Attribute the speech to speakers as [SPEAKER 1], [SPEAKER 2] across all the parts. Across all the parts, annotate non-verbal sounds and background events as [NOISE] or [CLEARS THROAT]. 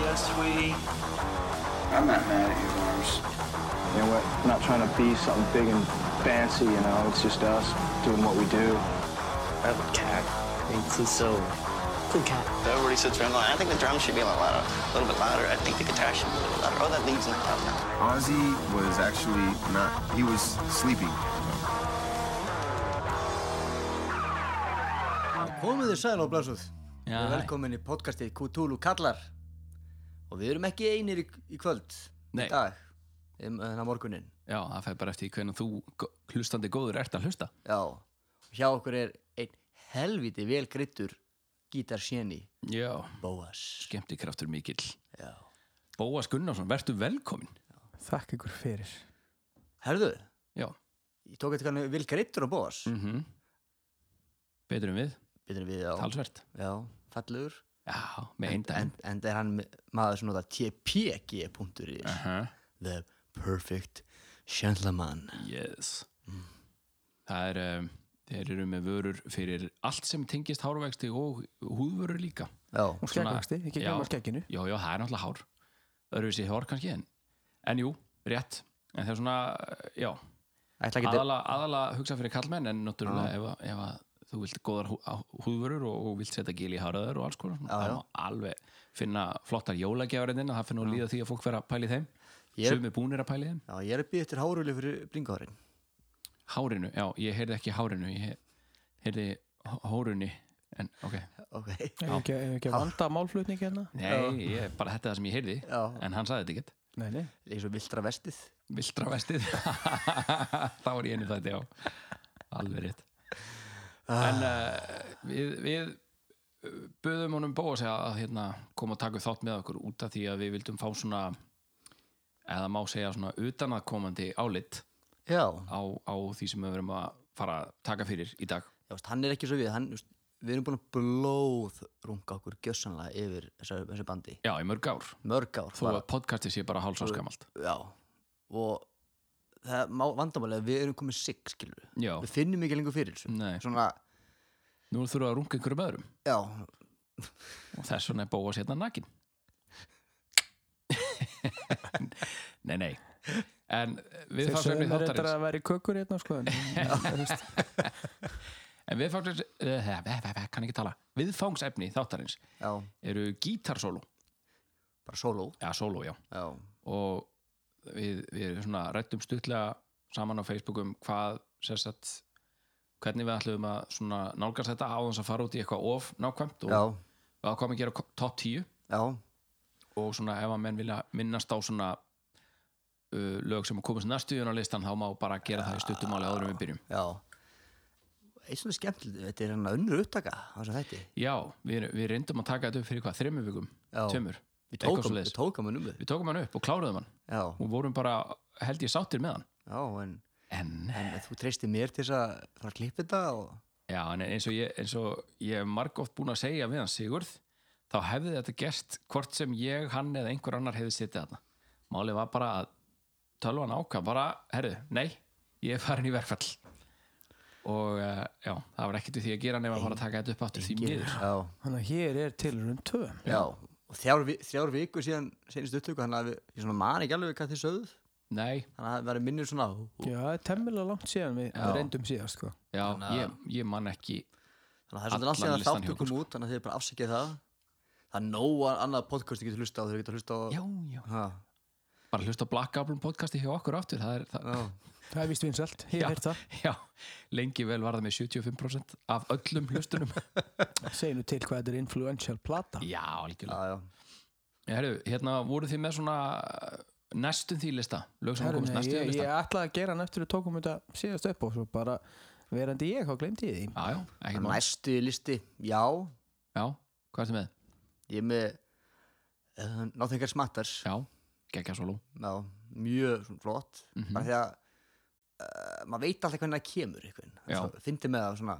[SPEAKER 1] Yes, sweetie.
[SPEAKER 2] I'm not mad at you, Mars.
[SPEAKER 3] You know, we're not trying to be something big and fancy, you know. It's just us doing what we do.
[SPEAKER 4] I have a cat. It's just so cool cat.
[SPEAKER 5] Everybody sits around going, I think the drums should be a lot louder, a little bit louder. I think the guitar should be a little louder. Oh, that lead's not loud enough.
[SPEAKER 6] Ozzy was actually not, he was sleeping.
[SPEAKER 7] Komið þið sæl og blásúð
[SPEAKER 4] Já,
[SPEAKER 7] og velkomin í podcastið Kutulu Kallar og við erum ekki einir í, í kvöld
[SPEAKER 8] Nei.
[SPEAKER 7] í dag, um, þannig að morgunin
[SPEAKER 8] Já, það fer bara eftir hvernig þú gó- hlustandi góður ert að hlusta
[SPEAKER 7] já, hjá okkur er einn helviti vel grittur gítarsjeni
[SPEAKER 8] Já
[SPEAKER 7] Bóas
[SPEAKER 8] Skemmtikraftur mikill
[SPEAKER 7] já.
[SPEAKER 8] Bóas Gunnarsson, vertu velkomin
[SPEAKER 9] Þakk ykkur fyrir.
[SPEAKER 7] Herðu,
[SPEAKER 8] Já,
[SPEAKER 7] ég tók eitthvað vel grittur á Bóas mm.
[SPEAKER 8] Mhm. betur en við,
[SPEAKER 7] við á,
[SPEAKER 8] talsvert
[SPEAKER 7] já, fallur
[SPEAKER 8] Já, með einn
[SPEAKER 7] en,
[SPEAKER 8] daginn
[SPEAKER 7] en er hann með- maður sem nota tpg.is
[SPEAKER 8] Aha,
[SPEAKER 7] the perfect gentleman
[SPEAKER 8] Yes Það er, um, þeir eru með vörur fyrir allt sem tengist hárvexti og húðvörur líka
[SPEAKER 7] já,
[SPEAKER 9] Og skeggvexti, ekki
[SPEAKER 8] Já.
[SPEAKER 9] glemma skegginu.
[SPEAKER 8] Jó, jó, það er náttúrulega hár Öðruvísi hár kannski en En jú, rétt En það er svona, já,
[SPEAKER 7] ætla ekki
[SPEAKER 8] aðalega aðala hugsa fyrir kallmenn en náttúrulega ef, að- ef að þú vilt góðar hú, á- húðvörur og, og vilt setja gil í haraður og alls konar svona, það má alveg finna flottar jólagjafarinnin það finnur að líða því að fólk vera að pæli þeim
[SPEAKER 7] Ég-
[SPEAKER 8] yep. sumi búnir að pæli þeim
[SPEAKER 7] Já, ég er að býða eftir hárúli fyrir blingahárin.
[SPEAKER 8] hárinu, já, ég heyrði ekki hárinu ég he- heyrði hó- hórunni en ok,
[SPEAKER 7] Ok. [LAUGHS]
[SPEAKER 9] Ef ekki, ef ekki að vanda málflutningi hérna.
[SPEAKER 8] nei, ég, bara þetta er það sem ég heyrði
[SPEAKER 7] Já.
[SPEAKER 8] en hann sagði þetta ekkert
[SPEAKER 9] Nei, nei.
[SPEAKER 7] Líka svo vildra vestið.
[SPEAKER 8] vildra vestið [LAUGHS] þá var ég einu þetta, já alveg rétt en uh, við, við uh, böðum honum Bóas að, að hérna, koma og taka upp þátt með okkur út af því að við vildum fá svona eða má segja svona utanakomandi álit
[SPEAKER 7] Já.
[SPEAKER 8] á, á því sem við verum að fara að taka fyrir í dag
[SPEAKER 7] Já, veist, hann er ekki svo við. Hann, veist, við erum búin að blóð runga okkur gjössanlega yfir þessu, þessu bandi.
[SPEAKER 8] já, í mörg ár,
[SPEAKER 7] Mörg ár.
[SPEAKER 8] þó
[SPEAKER 7] bara.
[SPEAKER 8] að podcastið sé bara hálsárskamalt
[SPEAKER 7] Já. Og það má vandamálega við erum komið sig, skilur við.
[SPEAKER 8] já,
[SPEAKER 7] Við finnum ekki lengur fyrir þessu.
[SPEAKER 8] Nei.
[SPEAKER 7] Svona,
[SPEAKER 8] nú þurfum við að runga einhverjum öðrum
[SPEAKER 7] já.
[SPEAKER 8] og þess vegna er Bóas hérna nakin [LAUGHS] nei, nei en eh, við
[SPEAKER 9] Þeir
[SPEAKER 8] fáum
[SPEAKER 9] sögum
[SPEAKER 8] sem
[SPEAKER 9] það
[SPEAKER 8] þáttarins
[SPEAKER 9] reyndar að vera í kökur hérna, sko. en-
[SPEAKER 8] [LAUGHS]
[SPEAKER 9] en- veist,
[SPEAKER 8] En viðfangsefni, uh, eh, eh, eh, kann ekki tala, viðfangsefni þáttarins
[SPEAKER 7] Já.
[SPEAKER 8] eru gítarsólu,
[SPEAKER 7] Bara sóló.
[SPEAKER 8] já, sólu, já,
[SPEAKER 7] Já.
[SPEAKER 8] og við, við svona rættum stuttlega saman á Facebookum hvað, sérstætt, hvernig við ætlum að svona nálgast þetta á þess að fara út í eitthvað of nákvæmt og
[SPEAKER 7] Já.
[SPEAKER 8] að koma að gera ko- topp 10
[SPEAKER 7] Já.
[SPEAKER 8] og svona ef að menn vilja minnast á svona uh, lög sem að komast næstu í á listan þá má bara gera það í stuttumáli áður en við byrjum.
[SPEAKER 7] Já. Eitt svona skemmtilegt, þetta er hann að unnur upptaka á þessu þætti.
[SPEAKER 8] Já, við, við reyndum að taka þetta upp fyrir hvað, þremur vikum,
[SPEAKER 7] Já.
[SPEAKER 8] tömur.
[SPEAKER 7] Við tókum, við tókum hann um
[SPEAKER 8] Við tókum hann upp og kláruðum hann
[SPEAKER 7] Já.
[SPEAKER 8] og vorum bara held ég sáttir með hann
[SPEAKER 7] Já, en...
[SPEAKER 8] en,
[SPEAKER 7] En þú treystir mér til þess að fara að klippa þetta og...
[SPEAKER 8] já, en eins og ég, eins og ég hef margótt búin að segja við hann Sigurð þá hefði þetta gerst hvort sem ég, hann eða einhver annar hefði sittið þarna málið var bara að tölvan ákvað bara, herru, nei ég er farin í verkfall og uh, já, það var ekkert við því að gera nema bara að taka þetta upp áttur því miður
[SPEAKER 7] Já,
[SPEAKER 9] Þannig að hér er tilurinn tvö.
[SPEAKER 7] já. Og þrjár, vi- þrjár viku síðan senist upptöku, þannig að við, ég svona man ekki alveg hvað þið sögðuð,
[SPEAKER 8] nei,
[SPEAKER 7] þannig að það verið minnir svona,
[SPEAKER 9] Já, það er temmilega langt síðan við
[SPEAKER 8] Já.
[SPEAKER 9] reyndum síðast, sko.
[SPEAKER 8] já, ég, ég man ekki
[SPEAKER 7] þannig að það er svolítið
[SPEAKER 8] Allan
[SPEAKER 7] langt síðan að
[SPEAKER 8] listan hjá
[SPEAKER 7] þáttu
[SPEAKER 8] okkur, sko.
[SPEAKER 7] kom út, þannig að þið bara afsakið það. Það er nóg að annað podcast þið getur hlusta á, þau getur hlusta á...
[SPEAKER 8] já, já,
[SPEAKER 7] Ha,
[SPEAKER 8] bara hlusta á Black Goblin podcasti hjá okkur aftur, það er, það,
[SPEAKER 7] já,
[SPEAKER 9] Það er vist vinsalt. Ég
[SPEAKER 8] Já.
[SPEAKER 9] hef heyrt það.
[SPEAKER 8] [LAUGHS] Já, lengi vel var það með 75% af öllum [LAUGHS] hlustunum
[SPEAKER 9] Seginu til hvað þetta er influential plata.
[SPEAKER 8] Já,
[SPEAKER 7] já,
[SPEAKER 8] algjörlega
[SPEAKER 7] já.
[SPEAKER 8] Herru, hérna voruð þið með svona eh, næstum því lista lög sem
[SPEAKER 9] Herru,
[SPEAKER 8] komast
[SPEAKER 9] nei,
[SPEAKER 8] næstum því
[SPEAKER 9] ég, ég
[SPEAKER 8] lista
[SPEAKER 9] ætlaði að gera hann eftir við tókum þetta síðast upp og svo bara verandi ég, þá glemdi ég því.
[SPEAKER 8] Já, já, ekkert mál
[SPEAKER 7] Næstu í listi, já,
[SPEAKER 8] Já, hvað ertu með?
[SPEAKER 7] ég er með uh, náþengar smattars, já.
[SPEAKER 8] Já, geggja solo
[SPEAKER 7] mjög svona flott,
[SPEAKER 8] Mhm.
[SPEAKER 7] bara því að uh, maður veit alltaf hvernig það kemur, einhvern.
[SPEAKER 8] Já.
[SPEAKER 7] veginn. Svo Fyndi með það svona,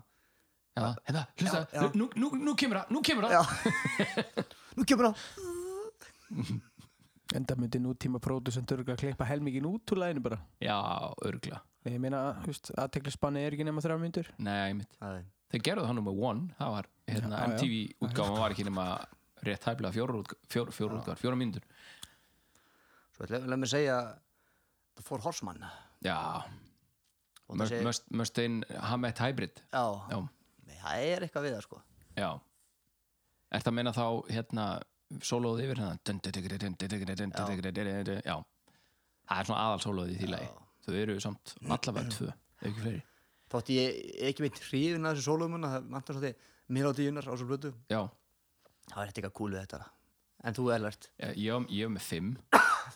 [SPEAKER 8] Já, hérna, hlusta,
[SPEAKER 7] Já, já.
[SPEAKER 8] Nú, nú, nú kemur það, nú kemur það
[SPEAKER 7] Já
[SPEAKER 8] [LAUGHS]
[SPEAKER 7] Nú kemur það
[SPEAKER 9] Enda myndi nútíma pródusendur að klippa helmingin út úr læginu bara.
[SPEAKER 8] Já, örgla
[SPEAKER 9] Ég meina, aðteklisbanni er ekki nema þrjá myndur.
[SPEAKER 8] Nei, mitt
[SPEAKER 7] Nei,
[SPEAKER 8] Þeir gerðu það nummer one, það var hérna,
[SPEAKER 9] Já, já.
[SPEAKER 8] MTV útgáfa var ekki nema rétt hæflega fjóra fjór, fjór, útgáður, fjóra mínútur
[SPEAKER 7] Svo ætla, leið mér segja The Four Horsemen
[SPEAKER 8] já,
[SPEAKER 7] Og það segir-
[SPEAKER 8] Must- Mustang Hammett Hybrid
[SPEAKER 7] Já,
[SPEAKER 8] já,
[SPEAKER 7] Nei, það er eitthvað við það sko
[SPEAKER 8] já er það að meina þá hérna sólóð yfir hérna dun, dun, dun, dun, dun, dun, dun, dun, dun, dun, dun, já, það er svona aðal sólóð í því lagi þau eru samt allavega tvö ef ekki fleiri,
[SPEAKER 7] Þótti ég ekki meitt hrifin að þessu sólumunna Það vantar svo því melodíunar á svo blötu
[SPEAKER 8] já
[SPEAKER 7] Það er eitthvað cool við þetta En þú er lært
[SPEAKER 8] ég, ég, ég er með fimm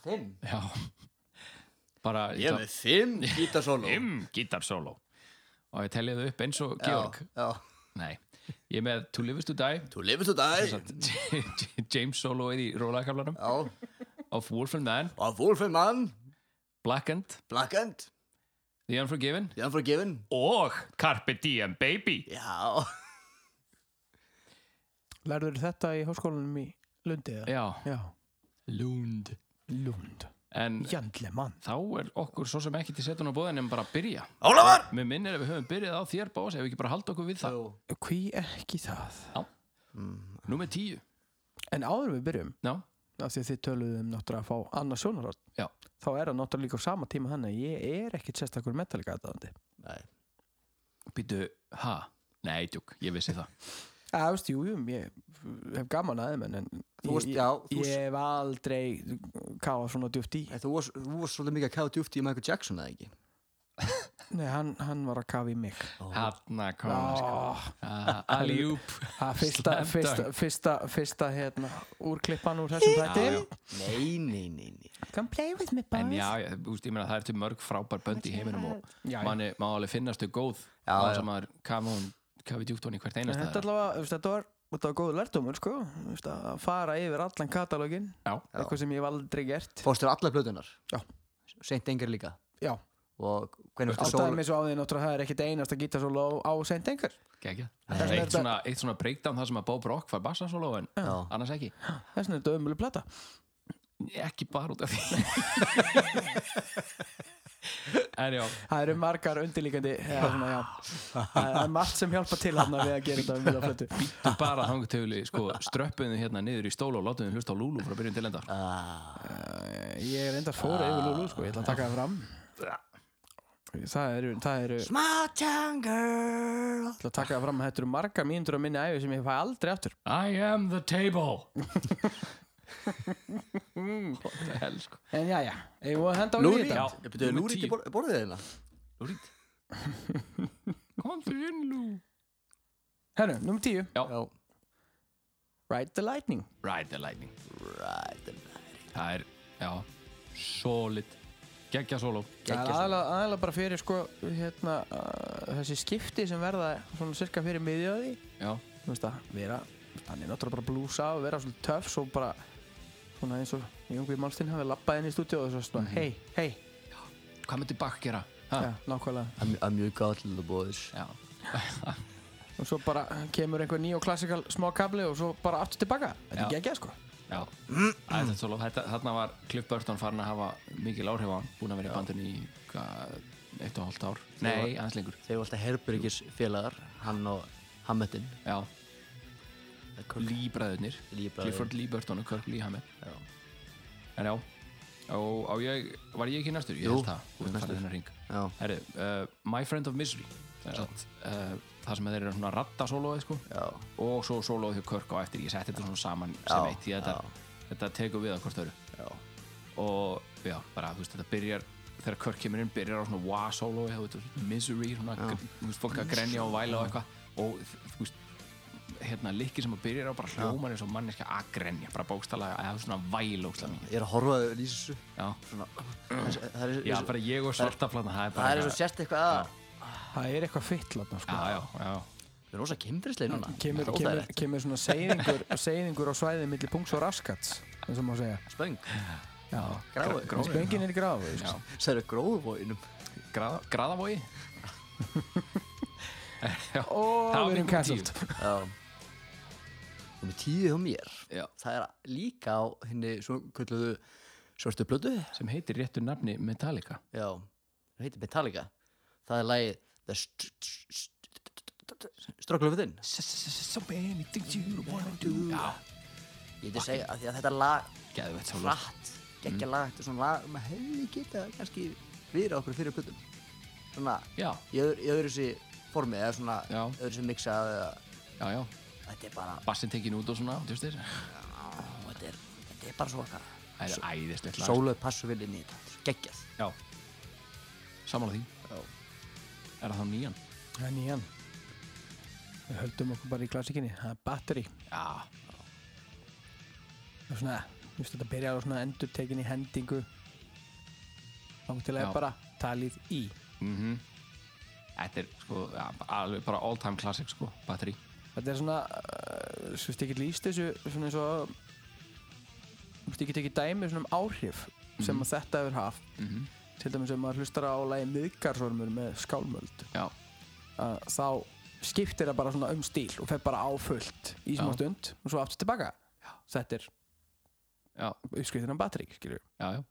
[SPEAKER 7] Fimm?
[SPEAKER 8] já bara,
[SPEAKER 7] Ég er með fimm
[SPEAKER 8] [LAUGHS]
[SPEAKER 7] gítarsólu
[SPEAKER 8] fimm gítarsóló og ég telja þau upp eins og Georg
[SPEAKER 7] Já,
[SPEAKER 8] nei, ég er með To Live Is To Die
[SPEAKER 7] þú lifir svo dag
[SPEAKER 8] James sólóið í rólaðakaflanum
[SPEAKER 7] Já,
[SPEAKER 8] Of Wolf and Man,
[SPEAKER 7] og Wolfen Mann
[SPEAKER 8] Blackened,
[SPEAKER 7] Black End
[SPEAKER 8] The Unforgiven
[SPEAKER 7] The Unforgiven
[SPEAKER 8] og Carpe Diem Baby
[SPEAKER 7] Já,
[SPEAKER 9] Lærður þetta í háskólanum í Lundi eða?
[SPEAKER 8] Já,
[SPEAKER 9] Já.
[SPEAKER 8] Lund
[SPEAKER 9] Lund.
[SPEAKER 8] En
[SPEAKER 9] Jandlemann.
[SPEAKER 8] þá er okkur svo sem ekki til setun á bóðin en bara að byrja
[SPEAKER 7] Ólafur
[SPEAKER 8] Mér minnir ef við höfum byrjað á þér bós ef við ekki bara halda okkur við það
[SPEAKER 7] Jú.
[SPEAKER 9] Hví ekki það?
[SPEAKER 8] Númer tíu
[SPEAKER 9] En áður en við byrjum,
[SPEAKER 8] Já,
[SPEAKER 9] af því að þið töluðum náttúrulega að fá annað sjónarhótt,
[SPEAKER 8] já,
[SPEAKER 9] þá er það náttúrulega líka á sama tíma þannig að ég er ekkit sérstakur metalika aðdæðandi.
[SPEAKER 7] Nei,
[SPEAKER 8] býtu, ha? Nei, djúk, ég vissi það
[SPEAKER 9] Já, þú veist, jú, jú, ég hef gaman að þeim en, en
[SPEAKER 7] Þú veist,
[SPEAKER 9] ég-
[SPEAKER 7] já, þú
[SPEAKER 9] ég
[SPEAKER 7] veist-
[SPEAKER 9] hef aldrei káða svona djúft í.
[SPEAKER 7] En þú varst þú varst svolítið mikið að kafa djúft í Michael Jackson eða ekki?
[SPEAKER 9] Nei, hann, hann var að kafa í mig.
[SPEAKER 8] Hanna kom sko.
[SPEAKER 9] Oh,
[SPEAKER 8] Alljúp
[SPEAKER 9] að fyrsta,
[SPEAKER 8] Slam
[SPEAKER 9] fyrsta,
[SPEAKER 8] dunk.
[SPEAKER 9] fyrsta, fyrsta, hérna, úrklippan úr þessum þætti.
[SPEAKER 7] Nei, nei, nei, nei
[SPEAKER 9] Come play with me,
[SPEAKER 8] En
[SPEAKER 9] boys.
[SPEAKER 8] já, já, þú veist, ég meina það er til mörg frábær bönd í heiminum og
[SPEAKER 9] Já, já.
[SPEAKER 8] manni má alveg finnast þau góð
[SPEAKER 7] Já,
[SPEAKER 8] og
[SPEAKER 7] já.
[SPEAKER 8] þess að maður kafi hún kafi djúpt hún í hvert
[SPEAKER 9] En
[SPEAKER 8] einasta
[SPEAKER 9] þetta
[SPEAKER 8] þeirra.
[SPEAKER 9] allavega, þú veist, þetta var, þetta var góð lærdómur, sko, Þú veist, að fara yfir allan katalógin,
[SPEAKER 8] Já,
[SPEAKER 9] eitthvað sem ég hef aldrei gert.
[SPEAKER 7] Fórstu á allar blötunar?
[SPEAKER 9] Já.
[SPEAKER 7] Seint engar líka
[SPEAKER 9] Já,
[SPEAKER 7] Og hvernig fórstu
[SPEAKER 9] ástæðum
[SPEAKER 7] sól
[SPEAKER 9] eins og á því náttúrulega það er ekkit einast að geta svo ló á seint engar.
[SPEAKER 8] geggjað
[SPEAKER 9] Þess vegna er
[SPEAKER 8] eitt,
[SPEAKER 9] þetta-
[SPEAKER 8] svona- eitt svona breakdown þar sem að Bob Rock fær bassasóló en
[SPEAKER 7] Já.
[SPEAKER 8] annars ekki
[SPEAKER 9] Þess vegna er þetta ömuleg plata.
[SPEAKER 8] ekki bara út af því [LAUGHS] en já,
[SPEAKER 9] Það eru margar undirlíkandi, eða svona, já, það er margt sem hjálpa til hann við að gera þetta ömuleg plötu.
[SPEAKER 8] býttu bara þangutöfli sko, ströppuðu hérna niður í stól og látuðu hlusta á Lulu frá byrjun til enda
[SPEAKER 9] Eh, Ég er endar fóra yfir Lulu, sko, ég ætla að taka það fram. Það eru, það eru, ég
[SPEAKER 7] My town girl
[SPEAKER 9] ætla að taka það fram að þetta eru margar mínútur á minni æfi sem ég fæ aldrei aftur.
[SPEAKER 8] I am the table What the hell sko
[SPEAKER 9] En já, já, ég voru að henda á
[SPEAKER 7] Lúrít,
[SPEAKER 9] þetta.
[SPEAKER 7] ég byrjuði
[SPEAKER 8] Númer
[SPEAKER 7] Lúrít í
[SPEAKER 8] tíu.
[SPEAKER 7] bor- borðið hérna? þeirna
[SPEAKER 8] Lúrít Komdu inn Lú
[SPEAKER 9] Herru, nummer tíu,
[SPEAKER 8] Já,
[SPEAKER 9] Ride the Lightning.
[SPEAKER 8] Ride the Lightning Það er, já, solid geggja sóló
[SPEAKER 9] Það er aðalega, aðalega bara fyrir sko, hérna, uh, þessi skipti sem verða svona cirka fyrir miðjöði
[SPEAKER 8] Já,
[SPEAKER 9] þú veist að vera, hann er náttúrulega bara að blúsa og vera svona töff svo bara svona eins og Jóngvið Málstinn hafi labbað inn í stúdíu og svo svona hei, hei,
[SPEAKER 8] hvað myndi Bach gera? Ha?
[SPEAKER 9] já, nákvæmlega
[SPEAKER 7] I'm, I'm your god little boys
[SPEAKER 8] Já,
[SPEAKER 9] og svo bara kemur einhver nýj og klassikal smá kabli og svo bara aftur tilbaka þetta er
[SPEAKER 8] Já.
[SPEAKER 9] geggjað sko
[SPEAKER 8] já
[SPEAKER 7] Mm.
[SPEAKER 8] Það er þetta sóló þetta, Þarna var Cliff Burton farin að hafa mikil áhrif á hann búin að vera í bandinu í hvað, eitt og hálft ár Nei, aðeins lengur
[SPEAKER 7] Þeir voru alltaf herbergis félagar Hann og Hammettin
[SPEAKER 8] Já, Líbræðurnir
[SPEAKER 7] Lee bræður.
[SPEAKER 8] Clifford Lee Burton og Kirk Lee Hammett
[SPEAKER 7] Já.
[SPEAKER 8] En já, og á ég, var ég ekki næstur? Ég
[SPEAKER 7] Jú,
[SPEAKER 8] held það,
[SPEAKER 7] þú ert
[SPEAKER 8] við höfum farið
[SPEAKER 7] næstur.
[SPEAKER 8] þennan ring
[SPEAKER 7] Já.
[SPEAKER 8] Herru, uh, My Friend of Misery sem sagt, uh, Það sem þeir eru svona ratta sólóið sko. Og svo sólóið hjá Körk á eftir Ég setti þetta svona saman sem eitt Því að þetta, þetta tekur við að hvort öru já. Og já, bara þú veist þetta byrjar Þegar Körk kemur inn byrjar á svona wah sólóið þú veist, svona Misery, svona, gr- þú veist fólk að grenja og væla og eitthvað Og þú veist hérna likki sem að byrjar á bara hljómar eins og manneska að grenja, bara bókstala eða svona væl ókslega mikið
[SPEAKER 7] Ég er að horfa að lýsa þessu
[SPEAKER 8] Já.
[SPEAKER 7] Svona Það er,
[SPEAKER 8] Mm. Já, bara ég og svartaflana Það er bara
[SPEAKER 7] það er svo sért eitthvað að
[SPEAKER 9] það er eitthvað fyll látna sko
[SPEAKER 8] Já, já, já
[SPEAKER 7] Við erum rosa kemfrislega núna
[SPEAKER 9] kemur,
[SPEAKER 7] Það
[SPEAKER 9] kemur,
[SPEAKER 7] er óþægilegt.
[SPEAKER 9] kemur svona seyðingur, [LAUGHS] seyðingur á svæðið milli pungs og raskats eins og má segja
[SPEAKER 7] Spöng
[SPEAKER 9] já.
[SPEAKER 7] Gráðu
[SPEAKER 9] spöngin er í gráðu sko.
[SPEAKER 7] Það eru gróðubóinum
[SPEAKER 8] Graða, Graðavogi Já,
[SPEAKER 9] og
[SPEAKER 8] það var
[SPEAKER 9] við erum
[SPEAKER 8] vinkonur
[SPEAKER 9] cancelled
[SPEAKER 7] Já Númer tíu hjá mér
[SPEAKER 8] Já.
[SPEAKER 7] Það er líka á henni Svo kvölduðu Svörstu blödu
[SPEAKER 8] sem heitir réttu nafni Metallica
[SPEAKER 7] Já Það heitir Metallica Það er lagið The St- St- St- Struggle Within
[SPEAKER 8] So many things you wanna do Já,
[SPEAKER 7] Ég veit að segja að, að þetta lag
[SPEAKER 8] Geðveitt solo.
[SPEAKER 7] Hratt, geggja lag Þetta er svona lag Maður hefði getað kannski Fyrir okkur fyrir plötum Svona
[SPEAKER 8] Já.
[SPEAKER 7] Í öðru, í öðru sér formi Eða svona
[SPEAKER 8] Já.
[SPEAKER 7] Öðru sér miksað eða
[SPEAKER 8] já, já,
[SPEAKER 7] Þetta er bara
[SPEAKER 8] bassin tekin út og svona tjústir.
[SPEAKER 7] á, Þetta er, þetta er bara svo okkar
[SPEAKER 8] það er æðislegt lag
[SPEAKER 7] Sóluð passu vel inn í þetta þetta er Geggjað
[SPEAKER 8] já, samanlega því er það þá nýjan
[SPEAKER 9] Það er nýjan. Við höldum okkur bara í klassikinni. Það er batteri.
[SPEAKER 8] já,
[SPEAKER 9] og svona, þú veist þetta byrjar á svona endurtekin í hendingu langt til að
[SPEAKER 8] Já.
[SPEAKER 9] er bara talið í
[SPEAKER 8] Mhm. þetta er sko já, alveg bara all time classic sko, batteri
[SPEAKER 9] þetta er svona uh, þú veist ekki líst þessu svona eins og þú veist ekki tekið dæmi svona um áhrif sem
[SPEAKER 8] Mhm.
[SPEAKER 9] að þetta hefur haft til dæmis ef maður hlustar á lagi miðgarsormur með skálmöld
[SPEAKER 8] já,
[SPEAKER 9] að þá skiptir það bara svona um stíl og fer bara á fullt í smá
[SPEAKER 8] Já.
[SPEAKER 9] stund og svo aftur tilbaka þetta er
[SPEAKER 8] já,
[SPEAKER 9] uppskriftin af batteri skilur
[SPEAKER 8] já, já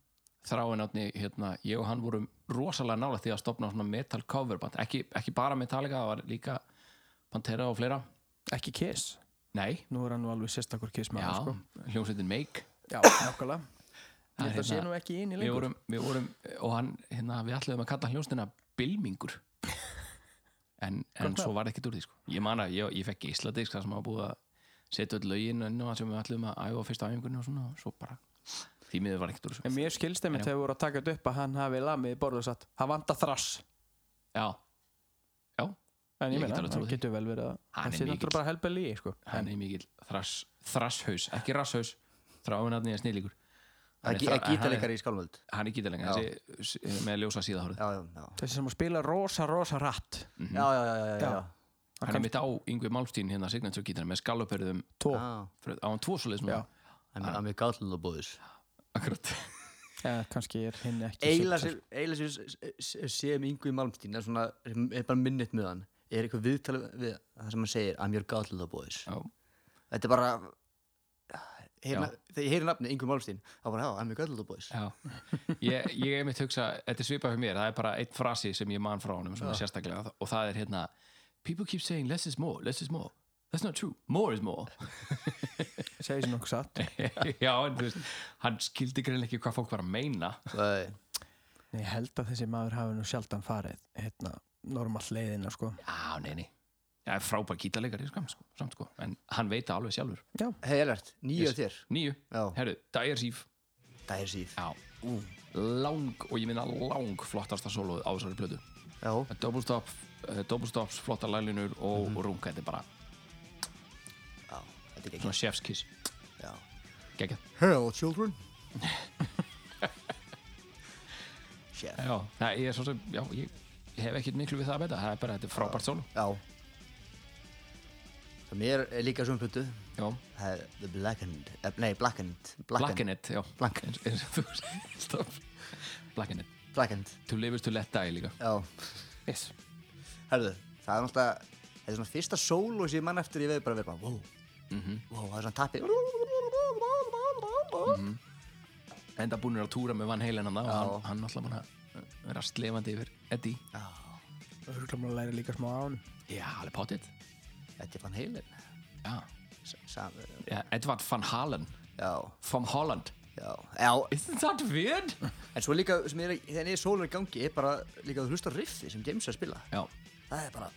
[SPEAKER 8] þráin átni, hérna, ég og hann vorum rosalega nálægt því að stopna svona metal cover band ekki, ekki bara Metallica, það var líka Pantera og fleira,
[SPEAKER 9] ekki kiss
[SPEAKER 8] nei
[SPEAKER 9] nú er hann nú alveg sérstakur kiss maður
[SPEAKER 8] já,
[SPEAKER 9] sko
[SPEAKER 8] hljómsveitin Make
[SPEAKER 9] [CLEARS THROAT] Já, nákvæmlega Ég
[SPEAKER 8] Það er
[SPEAKER 9] held að sé
[SPEAKER 8] hérna-
[SPEAKER 9] nú ekki inn í
[SPEAKER 8] við
[SPEAKER 9] lengur
[SPEAKER 8] vorum, við vorum, og hann, hérna, við ætluðum að kalla hljómsveitina Bilmingur en, en svo var ekkert úr því sko. ég man að ég, ég fekk geisladisk þar sem var búið að setja öll lögin inn og sem við ætluðum að æfa á fyrsta æfingunni og svona, og svo bara því miður var ekkert úr
[SPEAKER 9] En
[SPEAKER 8] þessu
[SPEAKER 9] mér skilst þeim að þegar voru að taka þetta upp að hann hafi lamið í borðu og satt Það vanta þrass
[SPEAKER 8] já, já,
[SPEAKER 9] En ég
[SPEAKER 8] Ég get
[SPEAKER 9] meina,
[SPEAKER 8] alveg
[SPEAKER 9] það
[SPEAKER 8] trúað því.
[SPEAKER 9] getur vel verið að
[SPEAKER 8] Hann
[SPEAKER 9] Það
[SPEAKER 8] er
[SPEAKER 9] sé
[SPEAKER 8] mikill.
[SPEAKER 9] náttúrulega bara helbel í sko.
[SPEAKER 8] hann er mikill þrass, þrasshaus, ekki rasshaus þráin að nýja snillíkur
[SPEAKER 7] Það er gí- er gítarleikari í skálmöld
[SPEAKER 8] hann er gítalega, með ljósa síðahórið
[SPEAKER 7] Já, já, já
[SPEAKER 9] Þessi sem að spila rosa, rosa rætt
[SPEAKER 7] Já, já, já, já, já, Mhm. já.
[SPEAKER 8] hann er mitt á Yngvi Málstín hérna signature gítar með skallupörðum
[SPEAKER 9] Tó
[SPEAKER 7] Ah,
[SPEAKER 8] á hann tvo svoleiðis núna
[SPEAKER 9] Já.
[SPEAKER 7] Það er mjög gátlun og búðis
[SPEAKER 8] akkurat
[SPEAKER 9] Eða kannski er hinn ekki
[SPEAKER 7] Eila
[SPEAKER 9] sigtar.
[SPEAKER 7] sem eiginlega sem s- s- sem Ingu í Malmstín er svona, sem er bara minnit með hann er eitthvað viðtal við það sem hann segir I'm your godlittle boys
[SPEAKER 8] já,
[SPEAKER 7] þetta er bara heyrna, þegar ég heyri nafni Ingu Malmstín þá bara, já, I'm your godlittle boys
[SPEAKER 8] Já, ég, ég er mitt hugsa þetta er svipað fyrir mér, það er bara einn frasi sem ég man frá honum svona sérstaklega og það er hérna People keep saying less is more, less is more That's not true, more is more
[SPEAKER 9] Segir sem nokkuð satt
[SPEAKER 8] [LAUGHS] Já, en þú veist, hann skildi greinlega ekki hvað fólk var að meina
[SPEAKER 7] Æ,
[SPEAKER 9] Nei, Ég held að þessi maður hafi nú sjaldan farið Hérna, normal leiðina sko
[SPEAKER 8] Já, nei, nei Já, frábær gítarleikari, skam, sko, samt sko en hann veit það alveg sjálfur
[SPEAKER 7] hei Elert, nýja yes. þér
[SPEAKER 8] Nýju,
[SPEAKER 7] Já.
[SPEAKER 8] herru, Dire Thief
[SPEAKER 7] það er síð
[SPEAKER 8] Já, lang, og ég minna lang flottasta soloð á þessari plötu
[SPEAKER 7] já,
[SPEAKER 8] Double, stop, uh, double stops, flottar lælunur og, og runga, þetta er bara
[SPEAKER 7] já, þetta er
[SPEAKER 8] svona
[SPEAKER 7] ekki
[SPEAKER 8] chef's kiss
[SPEAKER 7] já.
[SPEAKER 8] Gekka.
[SPEAKER 7] Hello children Chef
[SPEAKER 8] Já, það, ég er svo sem, já, ég, ég hef ekkert miklu við það að beita, það er bara, þetta er frábært solo.
[SPEAKER 7] já það mér er líka svona plötu
[SPEAKER 8] Já,
[SPEAKER 7] það er The Blackened eh, nei, Blackened
[SPEAKER 8] Blackened, já.
[SPEAKER 7] Black-
[SPEAKER 8] Eins, eins og þú stopp. Blackened.
[SPEAKER 7] Blackened
[SPEAKER 8] To live is to let die líka.
[SPEAKER 7] Já,
[SPEAKER 9] Yes
[SPEAKER 7] herðu, það er náttúrulega Það er svona fyrsta sólu sem ég mann eftir ég veið bara verið bara Wow, wow, það er svona tappi
[SPEAKER 8] Enda búinir að túra með Van Halen hann og hann,
[SPEAKER 7] Já.
[SPEAKER 8] hann alltaf bara að vera slefandi yfir Eddie.
[SPEAKER 9] Það er að læra líka smá án
[SPEAKER 8] Já, alveg potið.
[SPEAKER 7] Þetta er fann heilin
[SPEAKER 8] Já.
[SPEAKER 7] Sam,
[SPEAKER 8] já. Edvard van Halen,
[SPEAKER 7] Já,
[SPEAKER 8] from Holland.
[SPEAKER 7] já, já
[SPEAKER 8] Isn't that weird?
[SPEAKER 7] En svo líka sem ég er, þegar ég sólu er í gangi er bara líka að hlusta á riffi sem James er að spila
[SPEAKER 8] já.
[SPEAKER 7] Það er bara,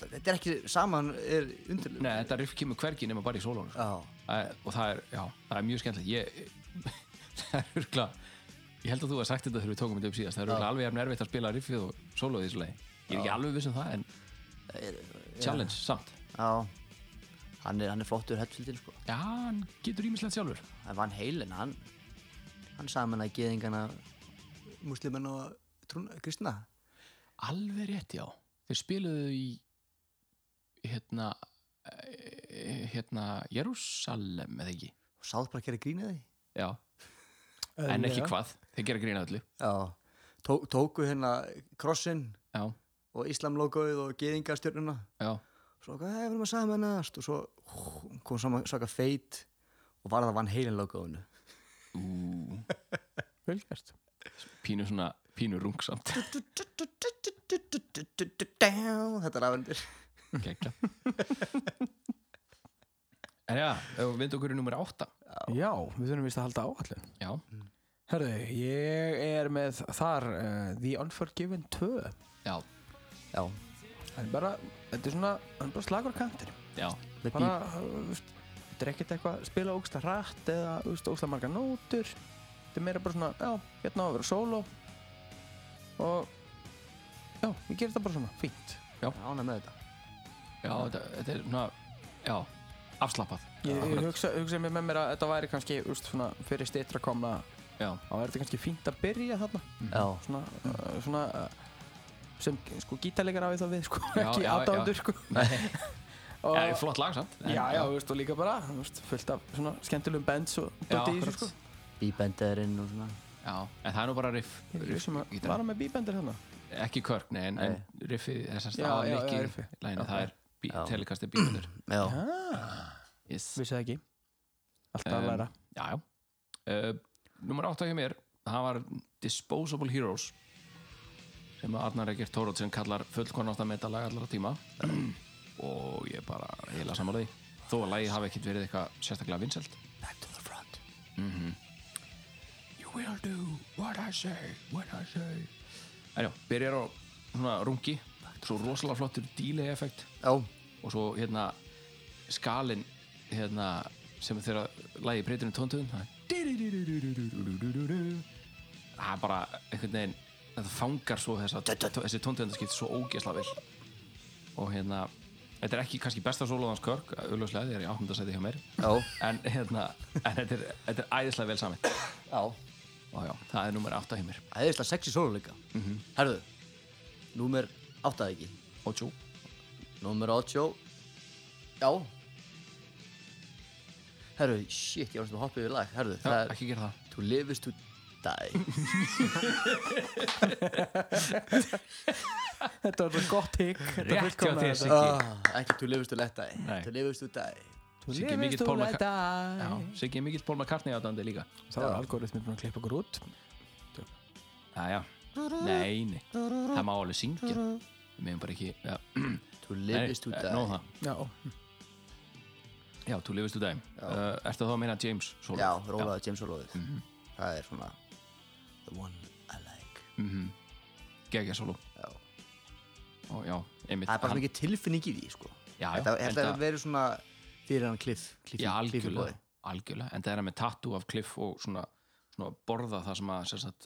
[SPEAKER 7] þetta er ekki saman er undirlug
[SPEAKER 8] Nei, þetta riff kemur hvergi nema bara í sólónu. sko.
[SPEAKER 7] Já,
[SPEAKER 8] Æ, og það er, já, það er mjög skemmtilegt ég, [LAUGHS] það er örgla ég held að þú hafði sagt þetta þegar við tókum þetta upp síðast það er örgla alveg jafn erfitt að spila riffið og solo í þessu lagi ég er ekki alveg viss um það en challenge samt
[SPEAKER 7] já Hann er, hann er flottur Hetfieldin sko
[SPEAKER 8] já, hann getur ímislegt sjálfur
[SPEAKER 7] En Van Halen, hann Hann saman að geðingana Muslimen og trúna, kristna
[SPEAKER 8] alveg rétt, já þeir spiluðu í hérna eh, hérna Jerusalem eða ekki
[SPEAKER 7] og sáð bara að gera grína því
[SPEAKER 8] já, en ekki hvað þeir gera grína öllu
[SPEAKER 7] já, tó, tóku hérna krossin
[SPEAKER 8] já,
[SPEAKER 7] og islamlogoið og geðingastjörnuna
[SPEAKER 8] já,
[SPEAKER 7] svo hvað, það verðum að samanast og svo hú, kom saman svaka feit og var það vann heilin logoinu
[SPEAKER 9] Vel gert
[SPEAKER 8] pínu svona pínu rungsamt
[SPEAKER 7] þetta er afendur
[SPEAKER 8] Gekka. Herja, við okkur í nummer 8
[SPEAKER 9] Já, við þurfum vist að halda áallum
[SPEAKER 8] Já,
[SPEAKER 9] Herðu, ég er með þar uh, The Unforgiven 2
[SPEAKER 8] já,
[SPEAKER 7] já,
[SPEAKER 9] Það er bara, þetta er svona, hann er bara slagur á kantinum
[SPEAKER 8] já
[SPEAKER 7] með
[SPEAKER 9] bara,
[SPEAKER 7] bíl
[SPEAKER 9] uh, veist, þetta er ekkert eitthvað að spila ógsta hratt eða veist, ógsta marga nótur þetta er meira bara svona, já, hérna á að vera sóló og já, ég gerir þetta bara svona, fínt
[SPEAKER 7] ána með þetta
[SPEAKER 8] Já, þetta, þetta er svona Já, afslappað
[SPEAKER 9] ég, ég
[SPEAKER 8] Akkurat.
[SPEAKER 9] hugsa, hugsa mér með mér að þetta væri kannski veist, svona, fyrir stýttra komna
[SPEAKER 8] Já,
[SPEAKER 9] þá er þetta kannski fínt að byrja þarna
[SPEAKER 7] já,
[SPEAKER 9] svona, uh, svona uh, sem sko gítarleikar á ég þá við sko,
[SPEAKER 8] Já,
[SPEAKER 9] ekki
[SPEAKER 8] já, já.
[SPEAKER 9] aðdáðundur sko og,
[SPEAKER 8] [LAUGHS] já er flott lag samt en-
[SPEAKER 9] já, já, þú veist, og líka bara þú veist, fullt af svona skemmtilegum bands og dóti
[SPEAKER 8] já,
[SPEAKER 9] í þessu
[SPEAKER 8] akkurat.
[SPEAKER 9] sko
[SPEAKER 7] bíbenderinn og svona
[SPEAKER 8] já, en það er nú bara riff,
[SPEAKER 9] Ég
[SPEAKER 8] riff
[SPEAKER 9] sem að
[SPEAKER 8] gítar.
[SPEAKER 9] vara með bíbendir þarna
[SPEAKER 8] Ekki körk, nei, en, en riffið Þessast
[SPEAKER 9] Já, já, já,
[SPEAKER 8] aðalikki
[SPEAKER 9] riffið.
[SPEAKER 8] læginu Það er bí,
[SPEAKER 7] Já.
[SPEAKER 8] telekastir bílunur
[SPEAKER 7] já,
[SPEAKER 8] yes.
[SPEAKER 9] Vissi það ekki Alltaf
[SPEAKER 8] Um,
[SPEAKER 9] að læra
[SPEAKER 8] Já, já uh, Númer 8 hjá mér Það var Disposable Heroes sem að Arnar Ekkert Tórótsen kallar fullkonnátt að meta lag allara tíma [CLEARS THROAT] og ég er bara heila samanlega því þó að lagið hafi ekkert verið eitthvað sérstaklega vinsælt Mhm.
[SPEAKER 7] back to the front
[SPEAKER 8] You will do what I say, what I say Enjá, byrjar á svona rungi svo rosalega flottur delay effekt
[SPEAKER 7] já,
[SPEAKER 8] og svo hérna skalinn hérna sem þeirra lagi breytinu tóntöðum það er- það er bara einhvern veginn þetta fangar svo þessa, þessi tóntöðundarskipt svo ógeðsla vel og hérna þetta er ekki kannski besta sólaðans körk auðvitað, það er í ákvöndasæti hjá mér
[SPEAKER 7] já,
[SPEAKER 8] en hérna, en þetta er, þetta er æðislega vel saman
[SPEAKER 7] já
[SPEAKER 8] og já, það er nummer 8 hjá mér
[SPEAKER 7] æðislega sexy solo líka herðu, númer áttaði ekki
[SPEAKER 8] og tjú,
[SPEAKER 7] Númer 8 Já Herru, shit, ég var næstum að hoppa yfir lag Herru, það
[SPEAKER 8] já,
[SPEAKER 7] er
[SPEAKER 8] ekki gera það
[SPEAKER 7] To live is to die
[SPEAKER 9] [LAUGHS] Þetta var svo gott higg Þetta
[SPEAKER 8] Rétt hjá
[SPEAKER 9] fullkomnaði
[SPEAKER 8] þér,
[SPEAKER 9] þetta.
[SPEAKER 8] Siggi
[SPEAKER 7] ah, Ekki to live is to let die
[SPEAKER 8] Nei.
[SPEAKER 7] To live is to die
[SPEAKER 9] Þú
[SPEAKER 8] Siggi er mikill
[SPEAKER 9] lifist og
[SPEAKER 8] Paul McCart-
[SPEAKER 9] læta
[SPEAKER 8] Já, Siggi er mikill Paul McCartney átandi líka
[SPEAKER 9] Það var algoritmi búin að klippa okkur út
[SPEAKER 8] Jæja, nei, nei Það má alveg syngja Við meðum bara ekki ja.
[SPEAKER 7] To live is to die
[SPEAKER 8] Nó um það,
[SPEAKER 9] Já
[SPEAKER 8] já, þú lifist úr dæm uh, Ertu þá að meina James Solo?
[SPEAKER 7] Já, rólaða James Orloðið
[SPEAKER 8] Mhm.
[SPEAKER 7] Það er svona The one I like
[SPEAKER 8] Gegja Mhm. Solo
[SPEAKER 7] Já.
[SPEAKER 8] Ó, já, einmitt
[SPEAKER 7] Það er bara
[SPEAKER 8] hann-
[SPEAKER 7] mikið tilfinning í því, sko
[SPEAKER 8] Já, já,
[SPEAKER 7] Þetta þetta
[SPEAKER 8] enda-
[SPEAKER 7] hefur verið svona fyrir hann kliff
[SPEAKER 8] Já, algjörlega, algjörlega En það er hann með tattoo af Cliff og svona, svona borða það sem að sem sagt,